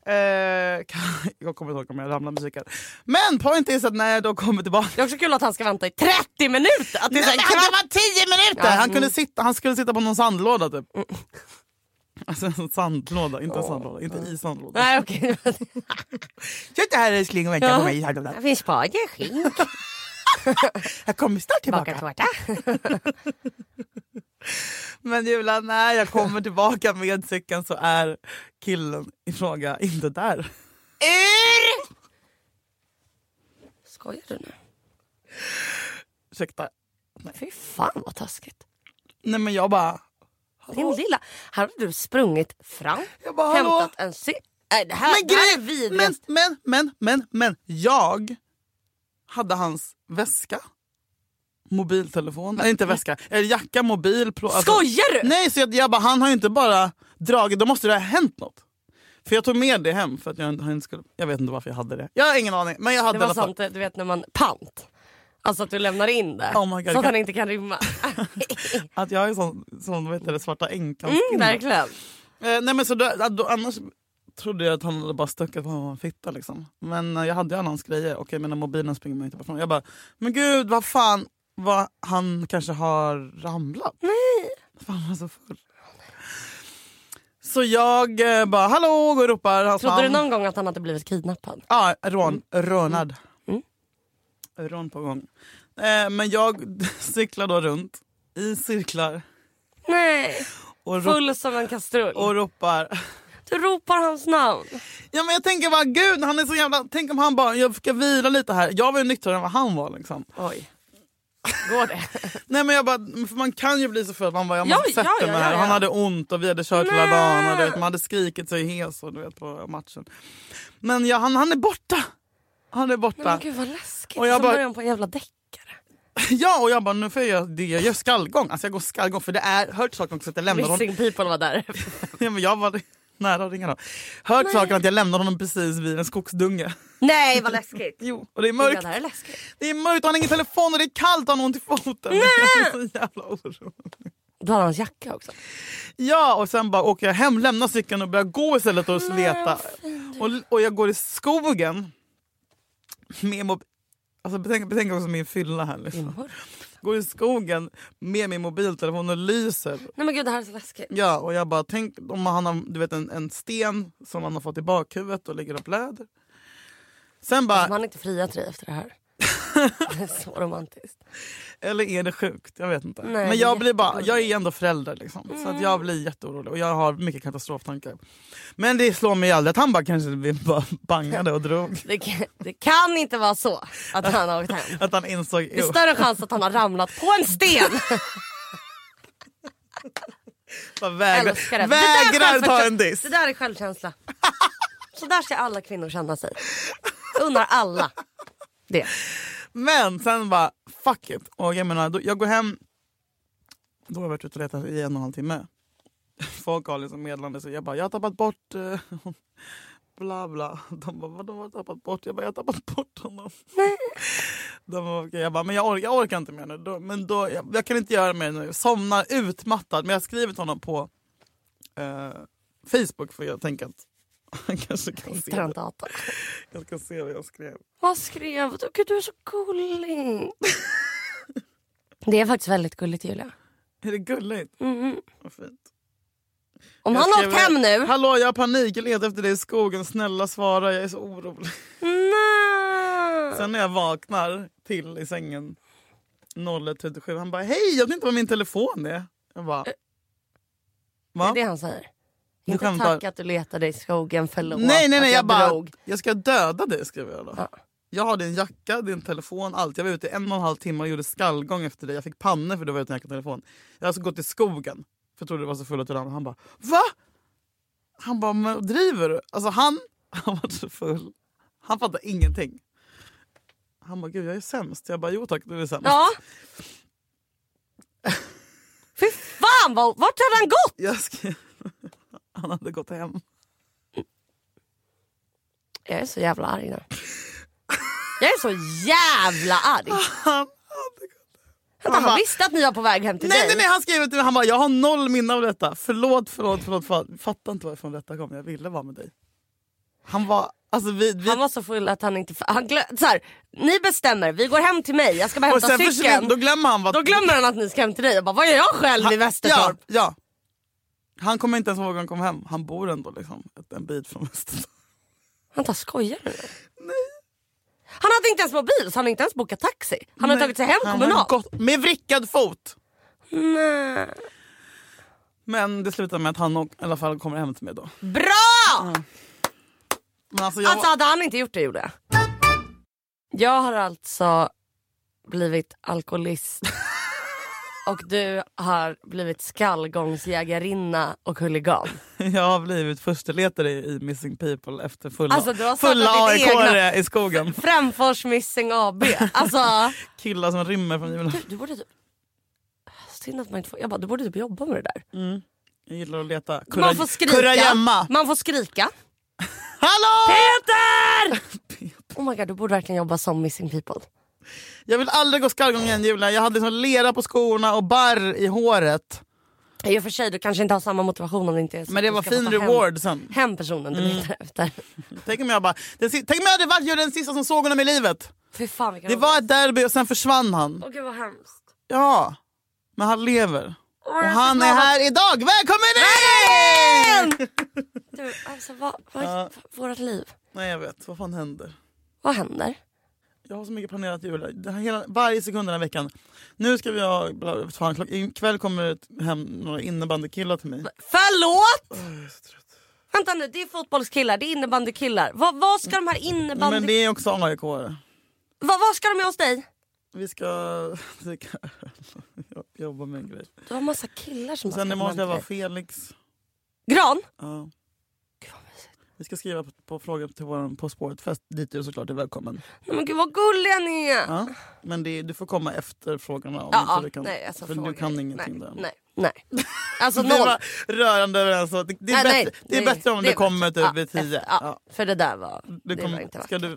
[SPEAKER 2] Eh, kan, jag kommer inte ihåg om jag ramlade med cykeln. Men point is att när jag då kommer tillbaka...
[SPEAKER 1] Det är också kul att han ska vänta i 30 minuter. Att det är
[SPEAKER 2] Nej,
[SPEAKER 1] så här
[SPEAKER 2] men han-
[SPEAKER 1] kvart-
[SPEAKER 2] det var 10 minuter!
[SPEAKER 1] Ja,
[SPEAKER 2] han,
[SPEAKER 1] mm.
[SPEAKER 2] kunde sitta, han skulle sitta på någon sandlåda typ. Alltså en sandlåda, inte en sandlåda. Inte i sandlåda.
[SPEAKER 1] Nej okej.
[SPEAKER 2] Sitt här älskling och vänta
[SPEAKER 1] Ja.
[SPEAKER 2] på mig i sandlådan.
[SPEAKER 1] Det finns bara skink.
[SPEAKER 2] Jag kommer snart
[SPEAKER 1] Bakad
[SPEAKER 2] tillbaka.
[SPEAKER 1] tårta.
[SPEAKER 2] Men Julia, när jag kommer tillbaka med cykeln så är killen i fråga inte där.
[SPEAKER 1] Ur! Skojar du nu?
[SPEAKER 2] Ursäkta.
[SPEAKER 1] Fy fan vad taskigt.
[SPEAKER 2] Nej men jag bara...
[SPEAKER 1] Din lilla. Här har du sprungit fram.
[SPEAKER 2] Jag bara, hallå?
[SPEAKER 1] hämtat en sy... Nej det här,
[SPEAKER 2] men,
[SPEAKER 1] det här är
[SPEAKER 2] grej- men,
[SPEAKER 1] vidrigast.
[SPEAKER 2] men, men, men, men. Jag hade hans väska. Mobiltelefon. Nej, inte väska. Eller jacka, mobil. Plå, alltså-
[SPEAKER 1] Skojar du?
[SPEAKER 2] Nej, så jag, jag bara, han har ju inte bara dragit. Då måste det ha hänt något. För jag tog med det hem. För att jag, inte- han inte skulle, jag vet inte varför jag hade det. Jag har ingen aning. Men jag hade
[SPEAKER 1] Det var
[SPEAKER 2] i alla fall.
[SPEAKER 1] sånt du vet när man... Pant. Alltså att du lämnar in det.
[SPEAKER 2] Oh my God,
[SPEAKER 1] så
[SPEAKER 2] kan-
[SPEAKER 1] att han inte kan rymma.
[SPEAKER 2] Att jag är sån, sån vad heter det, svarta änkan.
[SPEAKER 1] Mm, verkligen.
[SPEAKER 2] Eh, nej men så då, då, annars trodde jag att han hade bara stuckat på en fitta liksom. Men eh, jag hade ju alla hans grejer och jag menar mobilen springer man inte ifrån. Jag bara, men gud vad fan, vad, han kanske har ramlat. Nej. Fan han var så full. Så jag eh, bara, hallå, går och ropar hans
[SPEAKER 1] Trodde du
[SPEAKER 2] namn.
[SPEAKER 1] någon Mm. gång att han hade blivit kidnappad?
[SPEAKER 2] Ja, rån, rånad.
[SPEAKER 1] Mm.
[SPEAKER 2] Rån på gång. Eh, men jag cyklar då runt i cirklar
[SPEAKER 1] Nej.
[SPEAKER 2] och, rop,
[SPEAKER 1] Full som en kastrull.
[SPEAKER 2] och ropar
[SPEAKER 1] Du ropar hans namn.
[SPEAKER 2] Ja men jag tänker bara gud han är så jävla, tänk om han bara, jag ska vila lite här. Jag var ju nyktrare än vad han var liksom.
[SPEAKER 1] Oj. Går det?
[SPEAKER 2] Nej men jag bara, för man kan ju bli så full. Man bara, jag
[SPEAKER 1] Ja,
[SPEAKER 2] måste sätta
[SPEAKER 1] ja, ja,
[SPEAKER 2] mig här.
[SPEAKER 1] ja, ja.
[SPEAKER 2] Han hade ont och vi hade kört hela
[SPEAKER 1] Nej.
[SPEAKER 2] dagen. Och, du vet, man hade skrikit sig hes och, du vet, på matchen. Men ja, han, han är borta. Han är
[SPEAKER 1] Nej,
[SPEAKER 2] borta.
[SPEAKER 1] men gud vad läskigt.
[SPEAKER 2] Och jag
[SPEAKER 1] Som
[SPEAKER 2] bara-
[SPEAKER 1] början på en jävla deckare.
[SPEAKER 2] Ja och jag bara, nu får jag göra det. Jag gör skallgång. Alltså jag går skallgång för det är, hört saken också att jag lämnade honom.
[SPEAKER 1] Missing people var där.
[SPEAKER 2] Ja, men jag var nära att ringa då. Hört saken att jag lämnade honom precis vid en skogsdunge.
[SPEAKER 1] Nej vad läskigt.
[SPEAKER 2] Jo, och det är
[SPEAKER 1] Mörkt.
[SPEAKER 2] mörkt.
[SPEAKER 1] Det där är läskigt.
[SPEAKER 2] Det är mörkt, och han har ingen telefon och det är kallt och han har ont i foten. Jag är så jävla orolig.
[SPEAKER 1] Du hade hans jacka också.
[SPEAKER 2] Ja, och sen bara åker jag hem, lämnar cykeln och börjar gå istället och leta. Och, och jag går i skogen. Med mob- alltså, betänk, betänk också min fylla här. Liksom. Går i skogen med min mobiltelefon och lyser.
[SPEAKER 1] Nej men gud det här är så läskigt.
[SPEAKER 2] Ja, och jag bara tänk om han har du vet, en, en sten som han har fått i bakhuvudet och ligger och blöder. Sen bara,
[SPEAKER 1] Alltså, Man har inte friat dig efter det här. Det är så romantiskt.
[SPEAKER 2] Eller är det sjukt? Jag vet inte.
[SPEAKER 1] Nej, det är
[SPEAKER 2] men jag, blir bara,
[SPEAKER 1] jätteroligt. Mm.
[SPEAKER 2] jag är ändå förälder liksom. Så att jag blir jätteorolig och jag har mycket katastroftankar. Men det slår mig aldrig att han bara kanske vi bara bangade och drog.
[SPEAKER 1] Det kan, det kan inte vara så att han har åkt hem.
[SPEAKER 2] Att han insåg...
[SPEAKER 1] Det är
[SPEAKER 2] jo,
[SPEAKER 1] större chans att han har ramlat på en sten.
[SPEAKER 2] bara vägrar,
[SPEAKER 1] Älskar det. Det där är
[SPEAKER 2] vägrar ta
[SPEAKER 1] självförtro-
[SPEAKER 2] en diss.
[SPEAKER 1] Det där är självkänsla. Så där ska alla kvinnor känna sig. Jag unnar alla det.
[SPEAKER 2] Men sen bara fuck it. Och jag menar, då, jag går hem. Då har jag varit ute och letat i en och en halv timme. Folk har liksom meddelande så jag bara jag har tappat bort eh, bla bla. De bara vadå har du tappat bort? Jag bara jag har tappat bort honom. De bara, okej. Jag bara men jag, or- jag orkar inte mer nu. Då, men då, jag, jag kan inte göra mer nu. Somnar utmattad. Men jag har skrivit honom på eh, Facebook för jag tänker att han kanske kan se
[SPEAKER 1] Hittar
[SPEAKER 2] det.
[SPEAKER 1] inte datorn.
[SPEAKER 2] Jag ska se vad jag skrev.
[SPEAKER 1] Vad skrev du? Gud, du är så gullig. Det är faktiskt väldigt gulligt Julia.
[SPEAKER 2] Är det gulligt? Vad fint.
[SPEAKER 1] Om
[SPEAKER 2] Jag
[SPEAKER 1] han har åkt
[SPEAKER 2] skriver,
[SPEAKER 1] hem nu.
[SPEAKER 2] Hallå jag har panik, jag letar efter dig i skogen, snälla svara jag är så orolig.
[SPEAKER 1] Nej.
[SPEAKER 2] Sen när jag vaknar till i sängen 01.37 han bara hej jag vet inte vad min telefon är. Jag bara
[SPEAKER 1] Det
[SPEAKER 2] va?
[SPEAKER 1] är det han säger.
[SPEAKER 2] Du
[SPEAKER 1] Inte
[SPEAKER 2] skämtar.
[SPEAKER 1] tack att du letade i skogen, förlåt
[SPEAKER 2] Nej nej
[SPEAKER 1] att
[SPEAKER 2] nej jag bara
[SPEAKER 1] drog.
[SPEAKER 2] jag ska döda dig skriver jag då.
[SPEAKER 1] Ja.
[SPEAKER 2] Jag har din jacka, din telefon, allt. Jag var ute i en och en halv timme och gjorde skallgång efter dig. Jag fick panne för du var utan jacka och telefon. Jag har alltså gått i skogen. För jag trodde du var så full av tullan. Han bara va? Han bara men driver du? Alltså han, han var så full. Han fattar ingenting. Han bara gud jag är sämst. Jag bara jo tack du är sämst.
[SPEAKER 1] Ja. Fy fan, vad, vart hade han gått?
[SPEAKER 2] Jag skrev, han hade gått hem.
[SPEAKER 1] Jag är så jävla arg nu. Jag är så jävla arg.
[SPEAKER 2] Han hade gått
[SPEAKER 1] Vänta,
[SPEAKER 2] bara-
[SPEAKER 1] han visste att ni var på väg hem till
[SPEAKER 2] Nej,
[SPEAKER 1] dig.
[SPEAKER 2] nej, nej, han skrev till mig. Han bara, jag har noll minne av detta. Förlåt, förlåt, förlåt. förlåt. Fattar inte varifrån detta kom. Jag ville vara med dig. Han var, alltså vi... vi
[SPEAKER 1] Han var så full att han inte... Han glö... så här, ni bestämmer, vi går hem till mig, jag ska bara
[SPEAKER 2] och
[SPEAKER 1] hämta
[SPEAKER 2] sen försvinner,
[SPEAKER 1] cykeln.
[SPEAKER 2] då
[SPEAKER 1] Då,
[SPEAKER 2] glömmer han vad...
[SPEAKER 1] glömmer han att ni ska hem till dig. Jag bara, vad gör jag själv i
[SPEAKER 2] ja,
[SPEAKER 1] Västertorp?
[SPEAKER 2] ja. Han kommer inte ens ihåg när han kom hem. Han bor ändå liksom ett- en bit från Västertorp.
[SPEAKER 1] Vänta, skojar du nu? Han hade inte ens mobil, så han hade inte ens bokat taxi. Han hade
[SPEAKER 2] Nej,
[SPEAKER 1] tagit sig hem
[SPEAKER 2] han
[SPEAKER 1] kommunalt.
[SPEAKER 2] har gått Med vrickad fot.
[SPEAKER 1] Nej.
[SPEAKER 2] Men det slutar med att han nog, i alla fall kommer hem till mig då.
[SPEAKER 1] Bra!
[SPEAKER 2] Men alltså, jag,
[SPEAKER 1] Alltså hade han inte gjort det gjorde jag. Jag har alltså blivit alkoholist och du har blivit skallgångsjägarinna och huligan.
[SPEAKER 2] jag har blivit försteletare i Missing People efter fulla,
[SPEAKER 1] Alltså, du har startat
[SPEAKER 2] fulla
[SPEAKER 1] ditt
[SPEAKER 2] AIK-are i skogen.
[SPEAKER 1] Framfors Missing AB. Alltså,
[SPEAKER 2] Killar som rymmer från julen.
[SPEAKER 1] du borde typ... Synd att man inte får... Jag bara, du borde typ jobba med det där.
[SPEAKER 2] Jag gillar att leta.
[SPEAKER 1] Man får skrika.
[SPEAKER 2] kurragömma.
[SPEAKER 1] Man får skrika.
[SPEAKER 2] Hallå!
[SPEAKER 1] Peter! Oh my god, du borde verkligen jobba som Missing People.
[SPEAKER 2] Jag vill aldrig gå skallgång igen Julia. Jag hade liksom lera på skorna och barr i håret.
[SPEAKER 1] I och för sig, du kanske inte har samma motivation om det inte är så
[SPEAKER 2] Men det
[SPEAKER 1] att du
[SPEAKER 2] var
[SPEAKER 1] ska få
[SPEAKER 2] fin
[SPEAKER 1] ta hem-
[SPEAKER 2] reward Mm. sen.
[SPEAKER 1] Hem personen du letar efter.
[SPEAKER 2] Tänk om jag bara... Den, si- tänk om jag hade varit ju den sista som såg honom i livet.
[SPEAKER 1] Fy fan vilken
[SPEAKER 2] Det var ett derby och sen försvann han.
[SPEAKER 1] Åh gud vad hemskt.
[SPEAKER 2] Ja. Men han lever. Och
[SPEAKER 1] jag är så
[SPEAKER 2] han är
[SPEAKER 1] glad att-
[SPEAKER 2] här idag. Välkommen in!
[SPEAKER 1] Du, alltså vad, vad, vårat liv.
[SPEAKER 2] Nej jag vet, vad fan händer?
[SPEAKER 1] Vad händer?
[SPEAKER 2] Jag har så mycket planerat Julia. Det här hela, varje sekund den här veckan. Nu ska vi ha... bla- Fan, klock, ikväll kommer det hem några innebandykillar till mig.
[SPEAKER 1] Förlåt! Vänta nu, det är fotbollskillar, det är innebandykillar. Vad, vad ska de här innebandy...
[SPEAKER 2] Men det är också AIK-are.
[SPEAKER 1] Vad, vad ska de med hos dig?
[SPEAKER 2] Vi ska dricka öl. Jag jobbar med en grej.
[SPEAKER 1] Du har massa killar som
[SPEAKER 2] Sen
[SPEAKER 1] ska
[SPEAKER 2] imorgon ska
[SPEAKER 1] komma
[SPEAKER 2] jag vara
[SPEAKER 1] till dig.
[SPEAKER 2] Felix.
[SPEAKER 1] Gran?
[SPEAKER 2] Ja.
[SPEAKER 1] Gud, vad mysigt.
[SPEAKER 2] Vi ska skriva på, på frågor till vår På spåret-fest dit du såklart är välkommen.
[SPEAKER 1] Nej, men gud vad gulliga ni är.
[SPEAKER 2] Ja. Men det, du får komma efter frågorna. Om
[SPEAKER 1] Ja,
[SPEAKER 2] inte
[SPEAKER 1] ja,
[SPEAKER 2] du kan,
[SPEAKER 1] nej, alltså,
[SPEAKER 2] för
[SPEAKER 1] fråga
[SPEAKER 2] du kan
[SPEAKER 1] dig.
[SPEAKER 2] ingenting
[SPEAKER 1] nej,
[SPEAKER 2] där.
[SPEAKER 1] Nej, nej. Alltså
[SPEAKER 2] Vi
[SPEAKER 1] noll.
[SPEAKER 2] var rörande överens om att det, det, är
[SPEAKER 1] Nej, nej,
[SPEAKER 2] bättre, det är bättre om
[SPEAKER 1] det
[SPEAKER 2] du
[SPEAKER 1] är
[SPEAKER 2] kommer
[SPEAKER 1] bättre.
[SPEAKER 2] typ
[SPEAKER 1] Ja,
[SPEAKER 2] vid tio.
[SPEAKER 1] efter- Ja, för det där var, det var
[SPEAKER 2] Du
[SPEAKER 1] inte
[SPEAKER 2] kommer,
[SPEAKER 1] vackert.
[SPEAKER 2] ska du,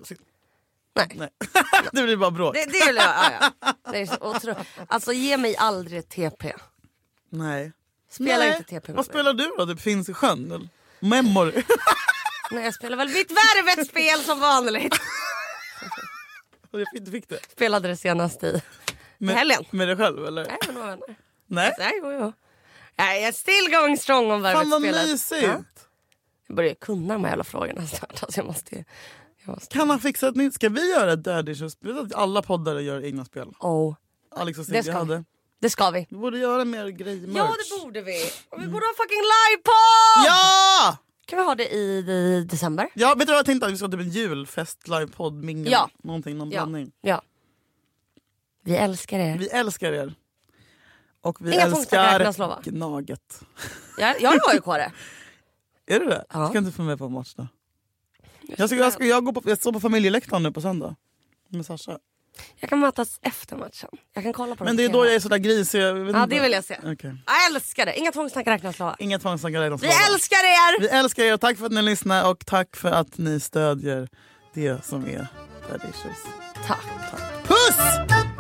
[SPEAKER 1] Nej.
[SPEAKER 2] nej. det blir bara bråk.
[SPEAKER 1] Det, det är väl, ja, ja. Det är så otroligt. Alltså ge mig aldrig ett TP.
[SPEAKER 2] nej.
[SPEAKER 1] Spela
[SPEAKER 2] nej.
[SPEAKER 1] inte TP med
[SPEAKER 2] Vad
[SPEAKER 1] mig.
[SPEAKER 2] spelar du då? Typ Finns i sjön? eller? Memory?
[SPEAKER 1] Nej, jag spelar väl mitt värvetspel som vanligt.
[SPEAKER 2] Jag fick- fick det.
[SPEAKER 1] Spelade det senast i
[SPEAKER 2] Med,
[SPEAKER 1] helgen.
[SPEAKER 2] med dig själv eller?
[SPEAKER 1] Nej, men några vänner.
[SPEAKER 2] Nej.
[SPEAKER 1] Nej, jo, jo. Nej, jag är still going strong om
[SPEAKER 2] Fan vad
[SPEAKER 1] värvetspel. Ja.
[SPEAKER 2] mysigt!
[SPEAKER 1] Jag börjar ju kunna de här jävla frågorna snart. Alltså, jag måste ju... Jag måste...
[SPEAKER 2] Kan han fixa ett nytt? Ska vi göra ett daddy issues? Vet du att alla poddare gör egna spel?
[SPEAKER 1] Oh,
[SPEAKER 2] Alex och
[SPEAKER 1] det
[SPEAKER 2] Sigge
[SPEAKER 1] ska vi.
[SPEAKER 2] hade.
[SPEAKER 1] Det ska vi.
[SPEAKER 2] Vi borde göra mer grejer.
[SPEAKER 1] Ja,
[SPEAKER 2] merch.
[SPEAKER 1] det borde vi. Och vi borde ha fucking livepodd!
[SPEAKER 2] Ja!
[SPEAKER 1] Kan vi ha det i, i december?
[SPEAKER 2] ja! Vet du vad jag tänkte? Att vi ska ha typ en julfest, livepodd, mingel.
[SPEAKER 1] Ja.
[SPEAKER 2] Någonting, någon
[SPEAKER 1] Ja.
[SPEAKER 2] blandning.
[SPEAKER 1] ja. Vi älskar er.
[SPEAKER 2] Vi älskar er. Och vi
[SPEAKER 1] Inga punktsaker räknas, lova.
[SPEAKER 2] älskar Gnaget.
[SPEAKER 1] Jag, jag är AIK-are.
[SPEAKER 2] Är du det?
[SPEAKER 1] Ja.
[SPEAKER 2] Ska inte få med på en match då? Jag, ska, jag, ska, jag, går på, jag står på familjeläktaren nu på söndag. Med Sasha.
[SPEAKER 1] Jag kan mötas efter matchen. Jag kan kolla på
[SPEAKER 2] Men
[SPEAKER 1] dem
[SPEAKER 2] det är
[SPEAKER 1] på
[SPEAKER 2] då
[SPEAKER 1] TV.
[SPEAKER 2] jag är sådär grisig. Jag vet
[SPEAKER 1] Ja,
[SPEAKER 2] inte.
[SPEAKER 1] det vill jag se.
[SPEAKER 2] Okej.
[SPEAKER 1] Jag älskar det. Inga tvångstankar räknas Lova.
[SPEAKER 2] Inga tvångstankar redan
[SPEAKER 1] Vi älskar er!
[SPEAKER 2] Vi älskar er och tack för att ni lyssnar och tack för att ni stödjer det som är Daddy Issues.
[SPEAKER 1] Tack.
[SPEAKER 2] Puss!